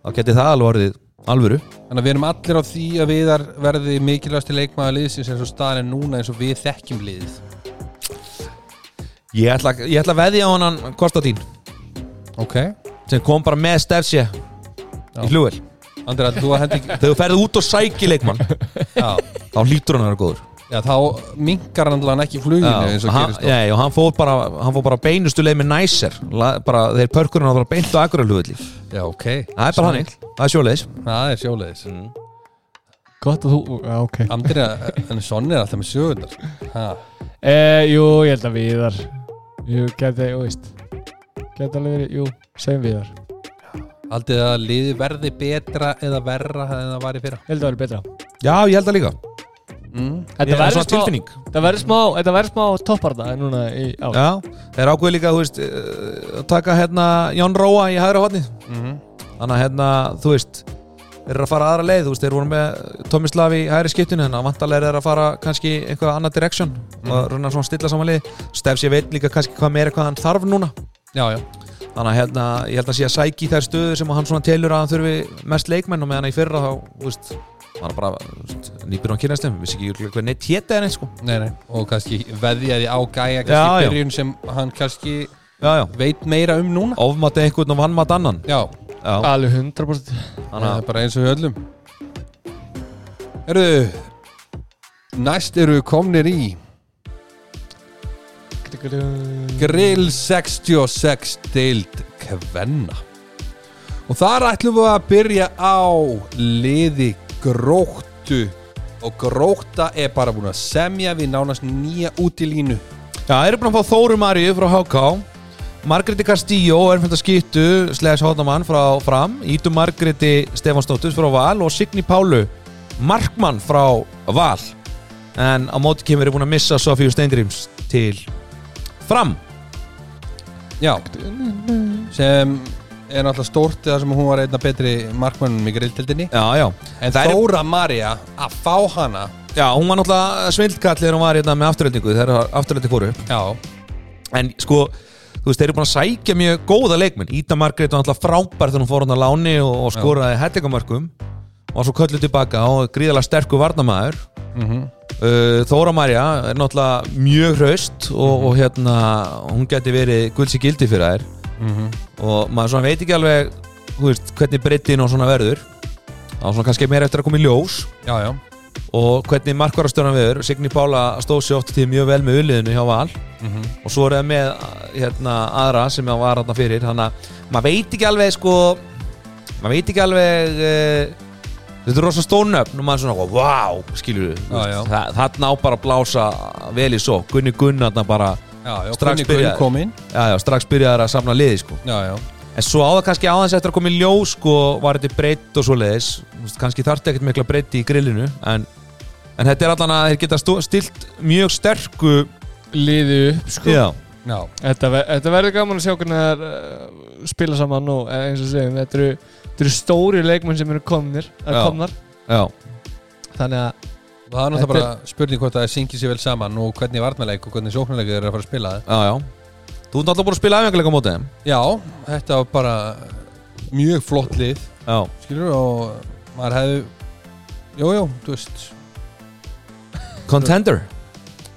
þá geti það alveg orðið alvöru þannig að við erum allir á því að viðar verði mikilvægasti leikmaður liðsins eins og staðan er núna eins og við þekkjum liðið ég ætla, ég ætla að veðja á hann Kostadín ok, sem kom bara með stefsje í flugvel Andra, þú að hendi þegar þú ferði út og sæki leikmann já, þá hlýtur hann að vera góður já, þá minkar hann allan ekki fluginu eins og hann, gerist oft. nei, og hann fór bara, hann fór bara beinustu leið með næser La, bara, þeir pörkur hann bara beint á akuralugulli það já, ok, er bara hann það er sjóleiðis það er sjóleiðis gott að þú, já ok Andri, en Sonni er alltaf með sögurnar ha, Eh, jú, ég held að viðar Jú, geti, jú veist Geti alveg verið, jú, segjum viðar Ég Haldið þið að liði verði betra eða verra en það var í fyrra held að verið betra já, ég held það líka mm. Ég Þetta er verður svona smá, tilfinning þetta verður smá, þetta verður smá topparða núna í ár já, þeir ákveðu líka þú veist, eh, að taka hérna Jón Róa í hægra hodni þannig að hérna, þú veist þeir eru að fara aðra leið, þú veist, þeir voru með Tomislav í hægri skiptinu, þannig að vantarlega er þeir að fara kannski einhvað annað direction og runa svona stilla saman leið, stefs ég veit líka kannski hvað meira hvað hann þarf núna Já, já, þannig að hérna, ég held að sé að sæki í þær stöðu sem hann svona telur að hann þurfi mest leikmenn og með hann í fyrra þá, þú veist hann er bara þú veist, nýpur á kynastum vissi ekki örugglega hvað neitt hétta en eitt sko nei, nei Og kannski veðjaði á gæja kannski Já, já. byrjun sem hann kannski já, já, veit meira um núna ofmata einhvern og vannmata annan Já, já, Alveg 100% þannig það að er bara eins og við öllum Erðu Næst eru komnir í Grill 66 deild kvenna og þar ætlum við að byrja á liði gróttu og gróta er bara búin að semja við nánast nýja útilínu Já, erum búin að fá Þóru Marju frá HK Margréti Castillo, erfenda skýttu Sleðis Hóttamann frá Fram Ítu Margréti Stefansdóttur frá Val og Signi Pálu Markmann frá Val en á móti kemur er búin að missa Sofíu Steingríms til Fram já sem er náttúrulega stórt þar sem hún var einna betri markmönnum í grilltildinni Já, já en Það er- Þóra Marja að fá hana Já, hún var náttúrulega svindlkall þegar hún var hérna með afturöldingu þegar afturöldi fóru upp já, en sko þú veist, þeir eru búin að sækja mjög góða leikmenn Íta Margrét var náttúrulega frábær þegar hún fór hann að láni og, og skoraði hellingamörkum og var svo kölluð tilbaka og gríðalega sterkur varnamaður Mhm, uh, Þóra Marja er náttúrulega mjög hraust og, og hérna hún geti verið gulds í gildi fyrir þær mhm. og maður svona veit ekki alveg þú veist, hvernig breytin og svona verður þá svona kannski meira eftir að koma í ljós Já, já og hvernig markvarastöðan verður Signi Pála stóð sér oft til mjög vel með uliðinu hjá Val Mhm. og svo er það með hérna, aðra sem hann var þarna fyrir þannig að maður veit ekki alveg sko maður veit ekki alveg uh, þetta er rosa stónöfn og maður er svona, wow, skilur við Já, já. Þa, þarna á bara að blása vel í svo Gunni Gunn þarna bara Já, já, Strax Gunni byrjaði. Gunn kom inn já, já, strax byrjaðar að samna liði sko Já, já en svo á það kannski áðans eftir að koma í ljós sko, var þetta breytt og svo leiðis kannski þarfti ekkert mikla breytti í grillinu en, en þetta er allan að þeir geta stó- stilt mjög sterku liði upp sko. já, Já, þetta, ver, þetta verður gaman að sjá hvernig það uh, spila saman og eins og segjum þetta eru, þetta eru stóri leikmenn sem eru komnir, er Já. komnar já, þannig að það er Þetta náttúrulega bara spurning hvort það syngir sér vel saman og hvernig varnarleik og hvernig sóknarleik þeir eru að fara að spila það já, já. þú ert alltaf búin að spila afhengilega á móti þeim Já, þetta var bara mjög flott lið já, skilur og maður hefði Jú, jú, þú veist contender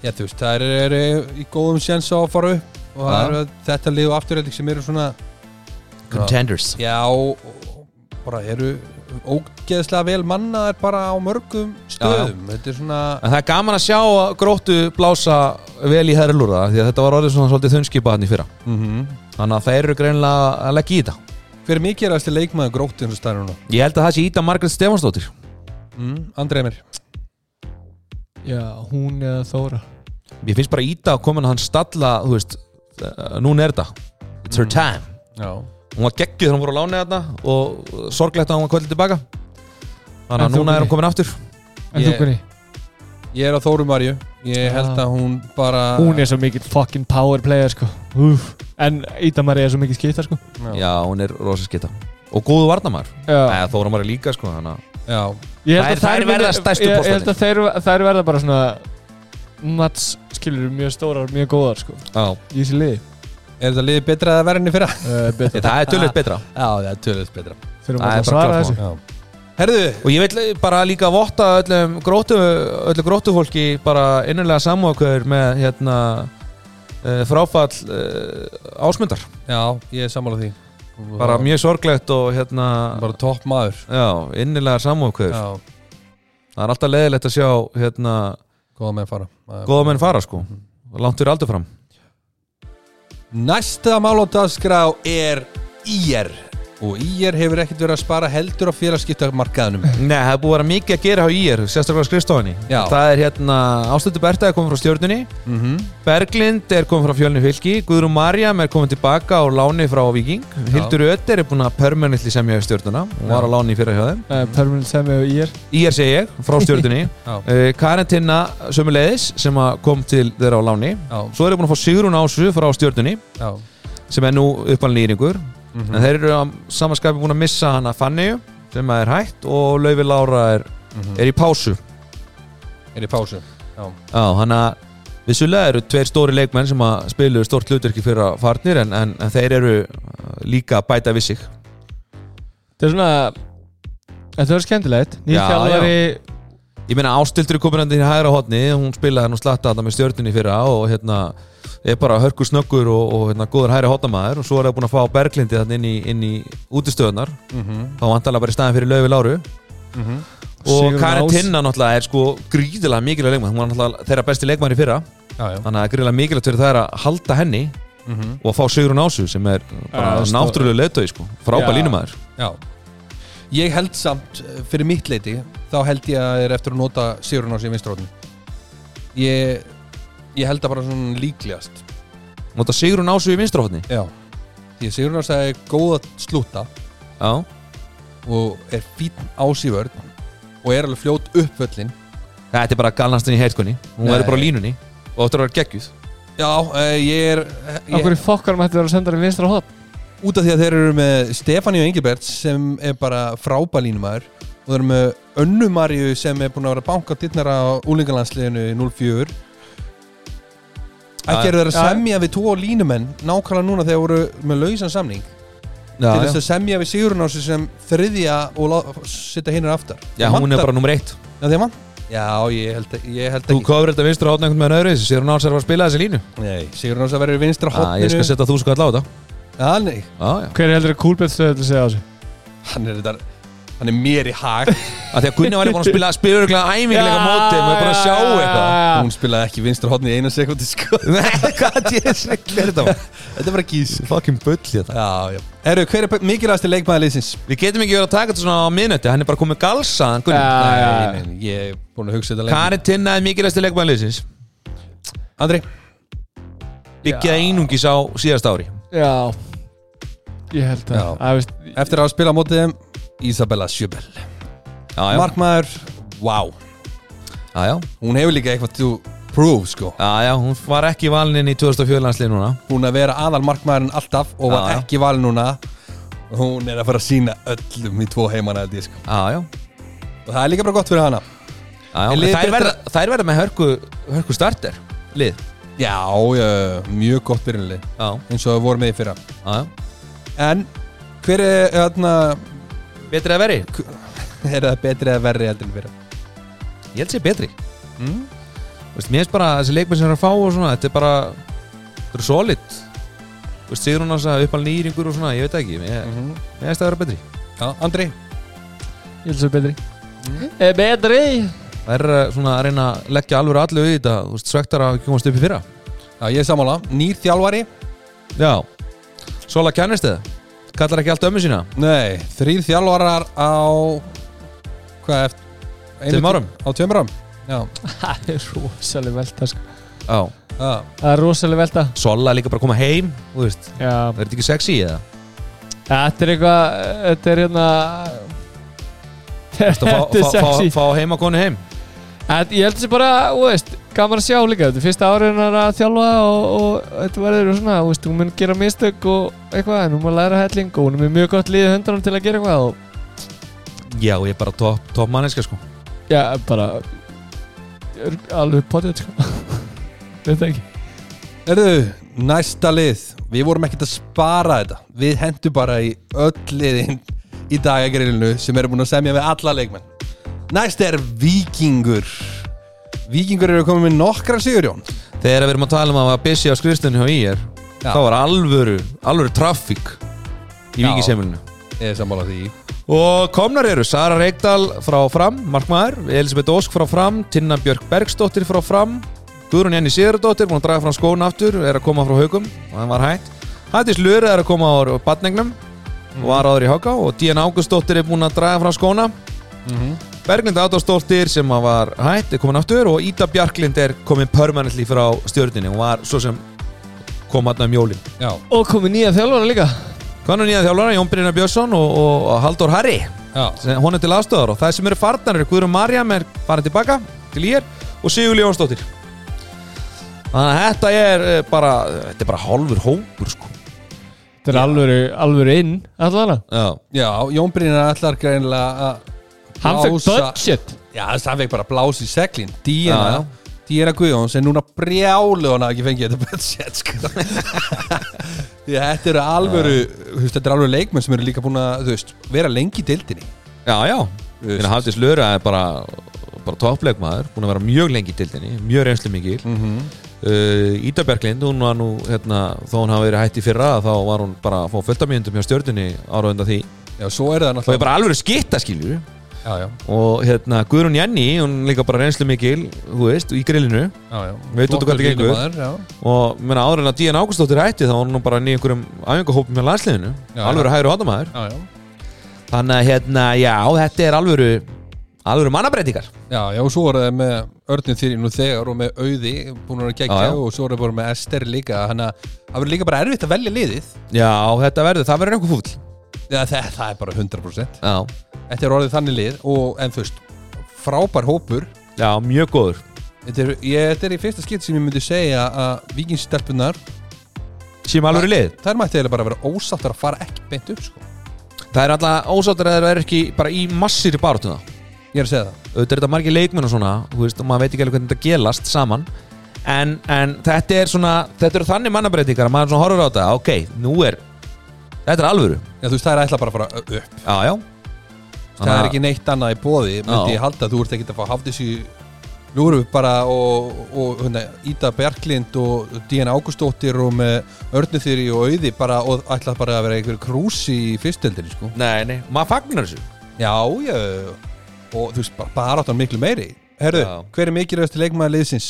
Já, þú veist, það eru er í góðum séns á að fara upp og það Já. eru þetta lið og afturrelding sem eru svona contenders Já, og- og bara eru ógeðslega vel mannaðar bara á mörgum stöðum Þetta er svona en það er gaman að sjá að gróttu blása vel í herrlúra því að þetta var orðið svona svolítið þunnskipa hann í fyrra mm -hmm. þannig að þeir eru greinilega að leggja í þetta Hver er mikilvægasti leikmaður grótt eins og stæður núna? ég held að það sé Íta Margrét Stefansdóttir Mm, Andrei Emir já, hún eða Þóra ég finnst bara Íta að komin að hann stalla þú veist, uh, núna er þetta it's her time Já hún var geggjuð þegar hún voru á láni þarna og uh, sorglegt að hún var kvöldið tilbaka þannig En að þú, núna er hún Gunni? komin aftur en þú Ég- hvernig? Ég er á Þóru Marju Ég held Já. að hún bara hún er svo mikill fucking power player sko Úf. en Ídamari er svo mikill skipta sko Já, já, hún er rosa skita og góðu varnamar já. eða þóra maður líka sko þannig að já. ég Þær- held að þær þær muni- verða stærstu ég- ég postarnir. held að þær, þær verða bara svona mats skilur mjög stórar, mjög góðar sko já. í þessi liði Er þetta liðið betra að verðinni fyrra? uh, betur það er tölvöld betra Já, það er tölvist betra þurfum Það að er bara svara klárt þessu já. Herðu og ég vil bara líka votta öllum grótu, öllu grótufólki bara innanlega samvokkur með hérna uh, fráfall uh, ásmundar Já, ég er sammála því bara mjög sorglegt og hérna Bara topp maður Já, innilega samvokkur Já, Það er alltaf leiðilegt að sjá hérna, góða menn fara Það er- góða menn fara sko Langt fyrir aldur fram Næsta mál á dagskrá er IR og IR hefur ekkert verið að spara heldur á félagskiptamarkaðnum Nei, það er búið að vera mikið að gera hjá IR Sérstaklega á skrifstofinni Já. Það er hérna, Ástöldu Berta er komin frá stjórnunni Mhm. Berglind er komin frá fjölni fylki Guðrún Marjam er komin tilbaka á láni frá Víking Hildur Ötter er búin að permanently semja hjá stjórnuna Hún var á láni fyrir hjá þeim uh, Permanent Semi og IR IR segi ég, frá stjórnunni Já. uh, Karen Tinna sömuleiðis sem að kom til þeirra á láni Já, Svo er ég búin að fá Sigrún Ásu frá stjórnunni já, Mhm. sem er nú uppalinn íringur en þeir eru að samanskapi búin að missa hana Fanníu sem er hægt og Laufi Lára er, er í pásu Mhm. er í pásu Já, Já, hann að vissulega eru tveir stóri leikmenn sem að spilu stórt hlutverki fyrir að farnir en, en, en þeir eru uh, líka að bæta við sig þetta er svona þetta verður skemmtilegt Já, nýr þjálfari Ég meina Ástildur er komin hann í hægra hotni hún spilaði hann og slatta hann með stjörnunni fyrra og hérna er bara hörku snöggur og, og hérna, góður hæri hotnamaður og svo er það búin að fá Berglindi þannig inn í, inn í útistöðunar Mhm. þá vantarlega bara í staðin fyrir Laufi Láru og Sigrún Karin Ás. Tinna náttúrulega er sko gríðilega mikilvæg leikmann hún var náttúrulega þeirra besti leikmann í fyrra já, já Mhm. þannig að það er gríðilega mikilvægt fyrir það er að halda henni og að fá Sigrun Ásu sem er bara Já, stó- náttúrulega leiðtögi sko, frábæð Já. línumæður Já Ég held samt, eh, fyrir mitt leiti þá held ég að það er eftir að nota Sigurinn á sig vinstróðin ég, ég held það bara svona líklegast nota Sigrun Ásu í vinstrófni Já Því að Sigurinn á sig er góð að slúta já, og er fín ásývörn og er alveg fljót upp völlin þetta er bara galnastinn í heitkunni hún Nei. verður bara á línunni og þetta er að vera geggjuð Já, eh, ég er af ég, hverju fokkar mætti vera að senda hann í vinstra hot Út af því að þeir eru með Stefani og Engilbert sem er bara frábælínumæður og þeir eru með Önnu Marju sem er búin að vera banka dittnara á úlingalandsliðinu í 04 Ekki Já, eru þeir að já. semja við tvo línumenn nákvæmlega núna þegar voru með lausan samning já, til já. þess að semja við Sigurinn á sig sem þriðja og lá- setja hinnur aftar já, hún er bara nummer eitt Já, þegar mann Já, ég held, ég held þú ekki kofur þetta vinstrófni einhvern veginn öðru Sigrun Ásu er að fara að spila þessi línu Nei, Sigurinn á sig að vera í vinstra að ég skal hotninu setja þú sko á þetta Já, nei, Já, já. Hver heldur að Kúlbett stöðu til að segja á þessu? hann er þetta Hann er mér í hag Af því að Gunni var alveg búin að spila spiluruglega æminglega Já, mótið, maður er búin að sjá já, eitthvað. já. Hún spilaði ekki vinstra hodni í eina sekundi sko Ah. Nei, hvað djöfull er þetta? Þetta er bara gísk Fucking bull hérna. í þetta. Já, já Eru, hver er mikilvægasti leikmaður liðsins? Við getum ekki verið að taka þetta svona á minnöti, hann er bara komið galsaðan Gunni. Já, já, já. Nei, nei, ég er búin að hugsa þetta lengi Karin Tinna er mikilvægsti leikmann liðsins. Andri Liggjað einungis á síðast ári. Já Ég held Já. að, að veist, Eftir að spila á mótið þeim Isabella Sjöbel Já, já. Markmaður Wow Já, já. Hún hefur líka eitthvað to prove sko Já, já, hún var ekki valin inn í 2004 landslið núna. Hún að vera aðal markmaðurinn alltaf Og var Já, já. ekki valin núna Hún er að fara að sína öllum í tvo heimana held ég, sko. Já, já. Og það er líka bara gott fyrir hana Já, já. En liðið Þær betra- verða, þær verða með hörku, hörku starter, lið. Já, já, já, mjög gott byrjunlið Já, eins og við vorum með í fyrra já, já. En hver er, hérna, Betri að veri? er það betri eða verri heldur en fyrra? Ég held sér betri. Mm. Vist, mér finnst bara að þessi leikmenn sem er að fá og svona, þetta er bara, þetta er solid. Vist, sigur hún að uppal nýringur og svona, ég veit það ekki, mér, Mhm. mér finnst það að vera betri. Já, Andri ég held að það er betri Er Eh, betri? Það er eh, svona að reyna að leggja alveg allu í þetta, þú veist, svektar að komast upp í fyrra. Já, ég er sammála Nýr þjálfari Já. Sola kennist þið? Kallar ekki allt ömmu sína? Nei, þrýr þjálfarar á Hvað eftir? Tveim árum. Á tveim árum Já, Það er rosalega velta sko. Já. já Það er rosalega velta Sola er líka bara að koma heim, þú veist, Já það er þetta ekki sexy eða? Þetta er eitthvað Þetta er hérna Þetta Þetta fá, er fá, fá, sexy fá heim að konu heim En Ég held þessi bara, þú veist, gaman að sjá líka Þetta er fyrsta árið hennar að þjálfa og, og þetta verður svona, þú veist, hún mun gera mistök og eitthvað, en hún mun læra helling og hún er með mjög gott liðið höndunum til að gera eitthvað og Já, ég er bara topp top manneska sko já, bara er alveg potið, sko Veit það ekki Erðu, næsta lið Við vorum ekkert að spara þetta Við hendum bara í öll liðin í dagagrillinu sem eru búin að semja við alla leikmenn Næst er Víkingur Víkingur eru komið með nokkra Sigurjón Þegar við erum að tala um að var busy á skrifstunni hjá IR Já. Þá var alvöru, alvöru traffík Í Já. vikiseimilinu Ég er sammála því Og komnar eru Sara Reykdal frá Fram, Markmaður Elisabeth Ósk frá Fram, Tinna Björk Bergsdóttir frá Fram Guðrún Jenny Sigurðardóttir, búin að draga fram skóna aftur Er að koma frá Haugum, og það var hægt Hættis Lurið er að koma á Batningnum Var áður í Háka Og Díana Águstóttir er búin að draga fram skóna Berglind Átásdóttir sem að var hætt er komin aftur og Ída Bjarklind er komin permanently frá stjörninni og var svo sem kom aðna um jólin Já, Og komið nýja þjálfara líka Hvað er nýja þjálfara? Jón Brynjar Björnsson og, og, og Halldór Harri já, sem, hún er til aðstöðar og það sem eru farnar er Guðrún Marjam er farin tilbaka til ír og Sigur Ljónsdóttir Þannig að þetta er eh, bara þetta er bara hálfur hópur sko Þetta er alvöru, alvöru inn, allavega Já, já Jón Brynjar ætlar greinilega að Hann fekk blása- budget Já, þess að hann fekk bara blás í seglin Já, Díana, já. Díana Guðjóns er núna brjálu hann að ekki fengið þetta budget sko. Því að þetta eru alvöru þú veist, Þetta eru alvöru leikmenn sem eru líka búin að þú veist, vera lengi í dildinni já, já Þannig að Hafdís Lura er bara, bara toppleikmaður, búin að vera mjög lengi í dildinni, mjög reynslu mikil -hmm. uh, Ída Berglind, hún var nú hérna, þó hún hafi verið hætt í fyrra þá var hún bara að fá fulltamjöndum hjá stjörnunni ára undan því og Já, svo er það það er náttúrulega bara alveg skitta skilju Já, já, og hérna Guðrún Jenny, hún líka bara reynslu mikil þú veist, í grillinu já, já. Veit út á hvað þetta Flottur gengur. línumaður, já. og menna áður en að Díðan Ágústóttir hætti þá var hún nú bara í einhverjum æfingahópum með landsliðinu Já, alveg já. að hægri hóttamæður Já, já. þannig að hérna, já, þetta er alvöru alvöru mannabreitingar já, já, og svo er það með Örnum þýri nú þegar og með Auði búin að gegja Já, já. og svo er það bara með Ester líka þannig að það verður líka bara erfitt að velja liðið já, þetta verður, það verður einhver fúll Já, það, það er bara 100% já, Þetta er orðið þannig lið og en þú veist frábær hópur já, mjög góður Þetta er, ég, þetta er í fyrsta skipt sem ég myndi segja að vikingstelpunar síðan alvöru lið þær mætti eiginlega bara vera ósáttar að fara ekki beint upp sko. það er alltaf ósáttur að það er ekki bara í massir í barátuna Ég er að segja það auðvitað er þetta margir leikmenn og svona þú veist, og maður veit ekki alveg hvernig þetta gelast saman en, en þetta er svona þetta eru þannig mannabreitingar að maður svona horfur á þetta ok, nú er þetta er alvöru Já, þú veist, þær ætla bara að fara upp já, já Það er ekki neitt annað í bóði myndi Já. ég halda að þú ert ekkert að fá hafði sér Nú erum við bara og, og hérna, Ída Berglind og Díana Ágústóttir og með Örnuþyri og Auði bara og ætla bara að vera einhver krúsi í fyrstöldinni sko. Nei, nei, maður fagnar þessu Já, já, og þú veist bara, bara áttan miklu meiri. Herðu, Já. hver er mikilvægast leikmaður liðsins?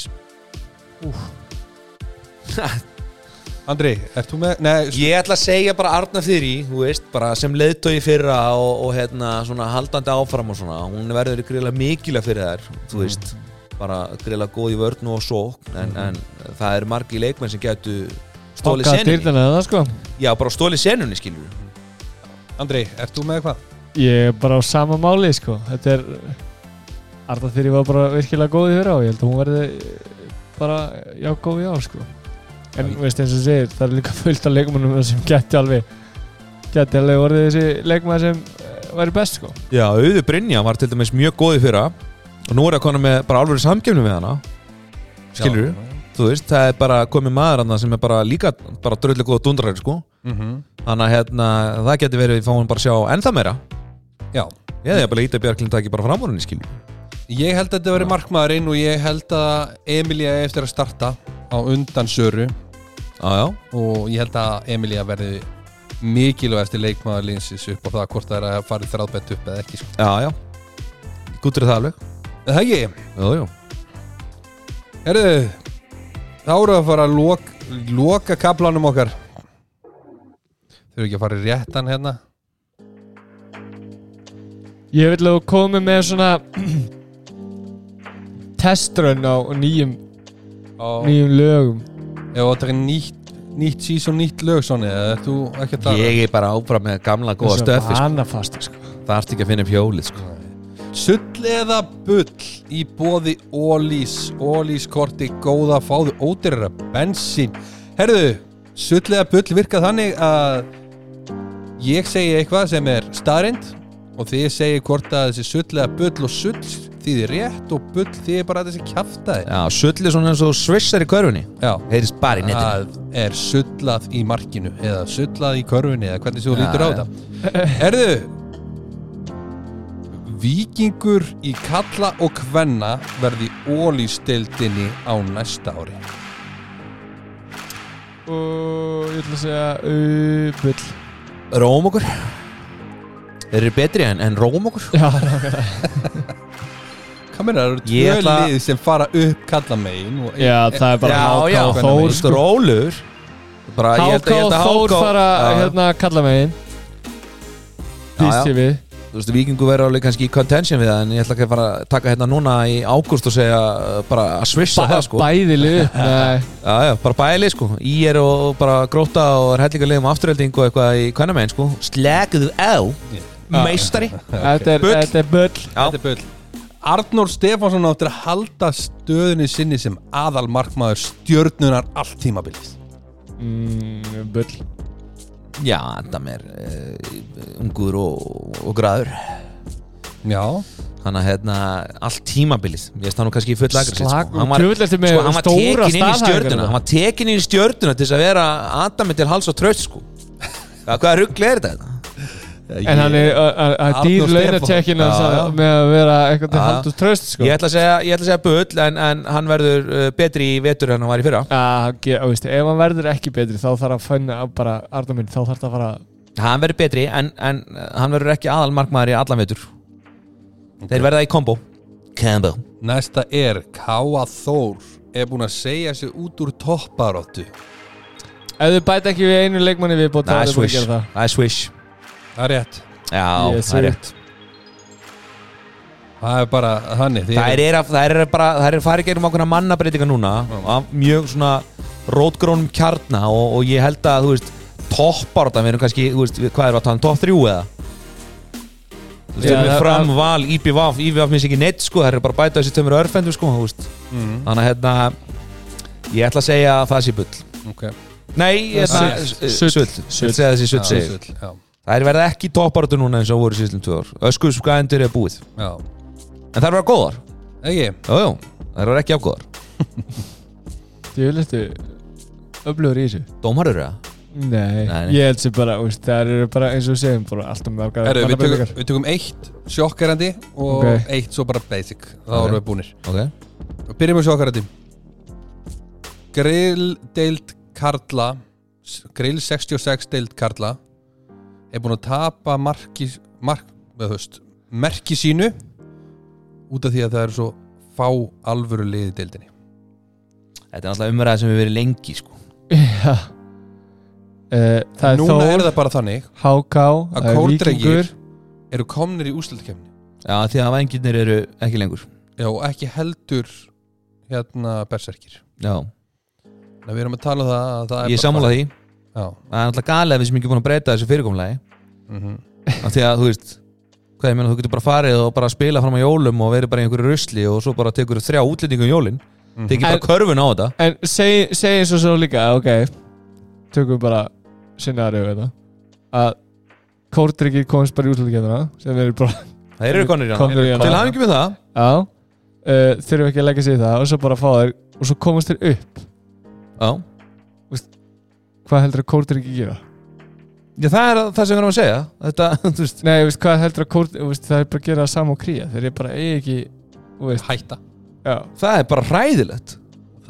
Andri, ert þú með? Nei, Ég ætla að segja bara Arna Þyrí, þú veist, bara sem leiðtói fyrra og, og hérna svona haldandi áfram og svona, hún verður greiðlega mikilega fyrir þær, þú veist bara greiðlega góð í vörn og sók en, en það eru margi leikmenn sem gætu stólið Bankaði senunni, dyrnana það sko já bara stólið senunni skilur Andri, ert þú með hvað? Ég er bara á sama máli sko Þetta er Arda Þyri var bara virkilega góð í fyrra og ég held að hún verði eh, bara já góð í ár sko En Já, ég- veist eins og þú segir, það er líka fullt af leikmannum sem geti alveg geti alveg orðið þessi leikmann sem eh, væri best sko Já, Auður Brynja var til dæmis mjög góð í fyrra og nú er það konum með bara alveg samgefni með hana skilur þú veist, það er bara komið maður annað sem er bara líka bara dröllu góða dundrar sko. þannig að hérna, það getur verið við fáum bara að sjá ennþá meira Já, Já, það er bara lítið að Bjarklind taki bara fram úr henni skilju ég held að þetta veri markmaðurinn og ég held að Emilía eigi eftir að starta á undan Söru Já, já, og ég held að Emilía verði mikilvægasti leikmaður linsins upp á það hvort það er að fara þráðbett upp eða ekki sko. já, já Gúttur það alveg Er Það ekki, Jú, jú herðu þá eru að fara að lok, loka kaplanum okkar þau eru ekki að fara í réttan hérna Ég vil að þú komi með svona testrun á nýjum, og ef nýjum lögum þetta er nýtt nýtt síðan nýtt lög svona eða ert þú ekki að tala Ég er bara áfram með gamla góða stöfi sko. Vanafasta sko Það ert ekki að finna upp hjólið sko. Sull eða bull í bóði Ólís Ólís korti góða fáðu ódyrra bensín Herðu, sull eða bull virkað þannig að ég segi eitthvað sem er staðrind og þið segi hvort að þessi sull eða bull og sull þýðir rétt og bull þýðir bara þessi kjaftaði Já, sullið svona eins og svissar í körfunni Já, Heyrist bara í netinu það er sullað í markinu eða sullað í körfunni eða hvernig sem þú Já, lítur á já. þetta Herðu Víkingur í kalla og kvenna verði ólýstildinni á næsta ári Og ég vil að segja uh, bull Róm okkur Þeir eru betri en, en róm okkur Já, nákvæmlega. Hvað meina, það eru tvö Ég ætla- lið sem fara upp kalla megin og já, það er bara Já, já, háká og Þór Þú sko rólur bara, ég held að- Háká ég held og að Þór HK fara Já, já. hérna kalla megin Já, já. Býst ég við Þú veist, vikingu verður alveg kannski í contention við það en ég ætla ekki að fara að taka hérna núna í ágúst og segja uh, bara að svissa það sko Bæði lið upp, Nei, Já, já, bara bæli sko Í er og bara gróta og er hellinga leiðum afturhelding og eitthvað í kvennamenn sko Sleguðu á Já. Meistari þetta er- Bull. þetta er bull Já, Þetta er bull Arnór Stefánsson áttir að halda stöðunni sinni sem aðal markmaður stjörnunar allt tímabilið Mm, Bull já það er uh, ungur og, og græður Já, Þannig að hérna, allt tímabilið Ég veist það nú kannski í full agressið Slag- Hann var, sko, Djöfull ertu með hann var stóra tekin inn í staðhæfingar stjörnuna þarna. Hann var tekin inn í stjörnuna til þess að vera Adami til hals og tröst sko Hvað hvaða rugl er þetta? En hann er að- að- að Arnór dýr Stefán. launatekkin Já, já. með að vera eitthvað til Já. haldur tröst sko. Ég ætla að segja, ég ætla að segja bull en, en hann verður uh, betri í vetur en hann var í fyrra að, að, veist, ef hann verður ekki betri þá þarf að fönna að bara, Arna minn, þá þarf það að fara Hann verður betri en, en uh, hann verður ekki aðalmarkmaður í allan vetur Þeir verða í kombo Combo Næsta er Káa Þór er búin að segja sig út úr topparóttu ef þau bæta ekki við einu leikmanni við bóta Það er swish það Það er swish Það er rétt Já, Yes, það er sir. rétt Það er bara þannig þið Það er, að, það er bara, það er farið gerum ákveðna mannabreitinga núna af mjög svona rótgrónum kjarna og, og ég held að, þú veist toppar þetta, við erum kannski, þú veist, við- hvað er að tala um topp þrjú eða? Þú veist, Já, við það- fram, val, IPV, IPV minnst ekki neitt, sko, það er bara að bæta þessi tömur örfendur, sko, þú veist þannig að, hérna, ég ætla að segja að það sé bull okay. Nei, ég ætla Sull. að eh, Sull. sull, ég ætla að segja þessi sull segir sull, já, Það er verið ekki toppartu núna eins og voru síðan tvö ár Öskuðsgæðendur er búið já. En það er verið góðar, Ekki, jú, jú, það er verið ekki afgóðar þau viljastu öflugur í þessu Dómarur eða? Nei, Nei, nei. ég held sér bara, veist, það eru bara eins og við segjum bara alltaf með ákvæða Heru, við, tökum, við tökum eitt sjokkerandi og Ok. eitt svo bara basic þá Ok. erum við búnir Ok Byrjum að sjá okkar þetta Grill deild Karla s- Grill 66 deild Karla er búin að tapa marki, mark, með höst, merki sínu út af því að það eru svo fá alvöru liði deildinni Þetta er alltaf umræða sem við verið lengi sko. Já uh, Það er Núna er Þór, það bara þannig Háká að það er kórdrengir eru komnir í úslutkemni Já, því að vengirnir eru ekki lengur Já, og ekki heldur hérna berserkir Já, Þannig að við erum að tala um það að það er ég er sammála því Já, Það er alltaf galið að við sem ekki búin að breyta þessu fyrirkomulagi mm af því að þú veist hvað ég meina, þú getur bara farið og bara spila fram á jólum og verið bara í einhverju rusli og svo bara tekur þrjá útlendingu um jólin Mhm. tekið bara En- körfun á þetta En segi, segi eins og svo líka, ok Tökum bara sinnaðar yfir þetta Að kórdrengir komst bara í útlöðkjönduna sem eru bara það eru konur í hana, komnir í til hana hafingjum við það Já Uh, þurfum ekki að leggja sig í það og svo bara fá þeir og svo komast þeir upp já. hvað heldur að kórdryggi gera? já, það er það sem við erum að segja þetta, þú veist Nei, veist, hvað heldur að kórdryggi veist, það er bara að gera það sama og kría þeir eru bara eigi ekki þú veist, hætta já. það er bara hræðilegt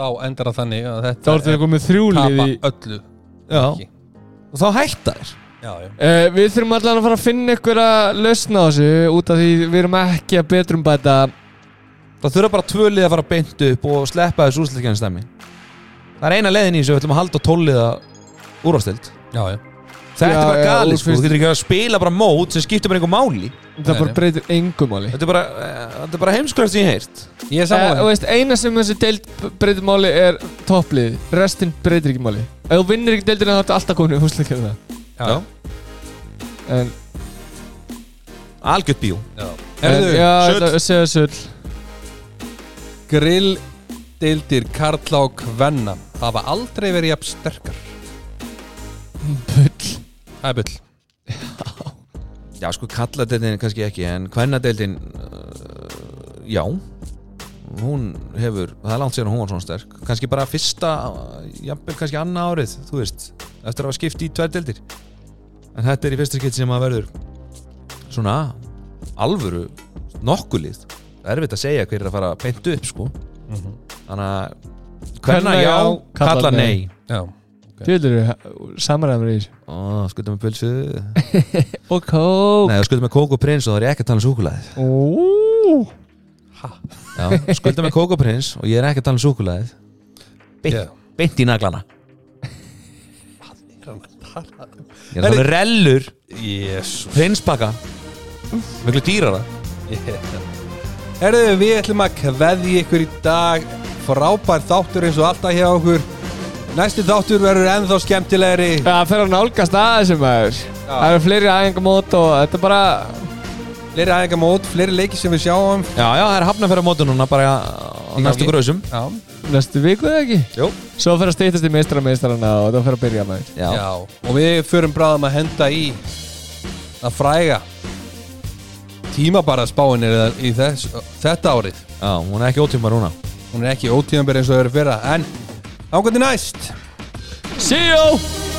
Þá endar það þannig að þá þetta ertu þeir komið Eh, tapa þrjúlið í öllu já, Ekki. og þá hætta þér Já, já Uh, við þurfum allan að fara að finna ykkur að lausna á þessu út af því við erum ekki að betrum bæta það þurfa bara tvölið að fara beint upp og sleppa þessu útlendingarnstæmi það er eina leiðin í þessu, við ætlum að halda tóliða úrástild Já, já þetta Já, er bara já, galið, og sko, þú fyrst- getur ekki að spila bara mót sem skiptir bara einhver máli það Nei, bara nei. breytir engum máli þetta er bara, eh, þetta er bara heimskvæmst sem ég hef heyrt Ég er Eh, sammála og uh, veist, eina sem þessi deild breytir máli er topplið, restin breytir ekki máli ef þú vinnir ekki deildina þá ertu alltaf komin í húsleikjörna Já, en, algjört bíó já en Herðu, Eh, já, sull. þetta- segja sull grill deildir Karla og Kvenna hafa aldrei verið jafn sterkar bull Það er bull Já, sko, kalladeildin kannski ekki en kvennadeildin uh, já hún hefur, það er langt sér að hún var svona sterk kannski bara fyrsta, uh, jafnvel kannski annað árið, þú veist eftir að hafa skipt í tvær deildir en þetta er í fyrsta skipt sem að verður svona alvöru nokkulið það er erfitt að segja hver er að fara beint upp sko þannig að kvenna Kvenna já, já, kalla, karla nei, nei. Já Tjóður, samræðum í þessu Ó, skutum með pulsu Og kók nei, skutum með kók og prins og það er ég ekki að tala um súkulæði Ó, Já, skulda með kókoprins og ég er ekki að tala um súkulæðið beint, Já. beint í naglana Ég er Herri- að tala um rellur, Jésús prinspakka miklu dýrara Herðu, við ætlum að kveðja ykkur í dag frábær þáttur eins og alltaf hjá okkur Næsti þáttur verður ennþá skemmtilegri Það fer að nálgast aðeins sem maður Það eru fleiri æfingamót og þetta er bara Fleiri æfingamót, fleiri leiki sem við sjáum Já, já, það er hafnafæra mótu núna bara á Í næstu gangi. grösum Já, næstu viku eða ekki Jú Svo fer að stýttast í meistara meistarana og það fer að byrja maður Já, já. Og við förum bráðum að henda í að fræga tímabara spáin er það í þess, þetta árið hún er ekki ótíma rúna Hún er ekki ótíðanbyrð eins og það eru fyrra En ákvæmdi næst See you!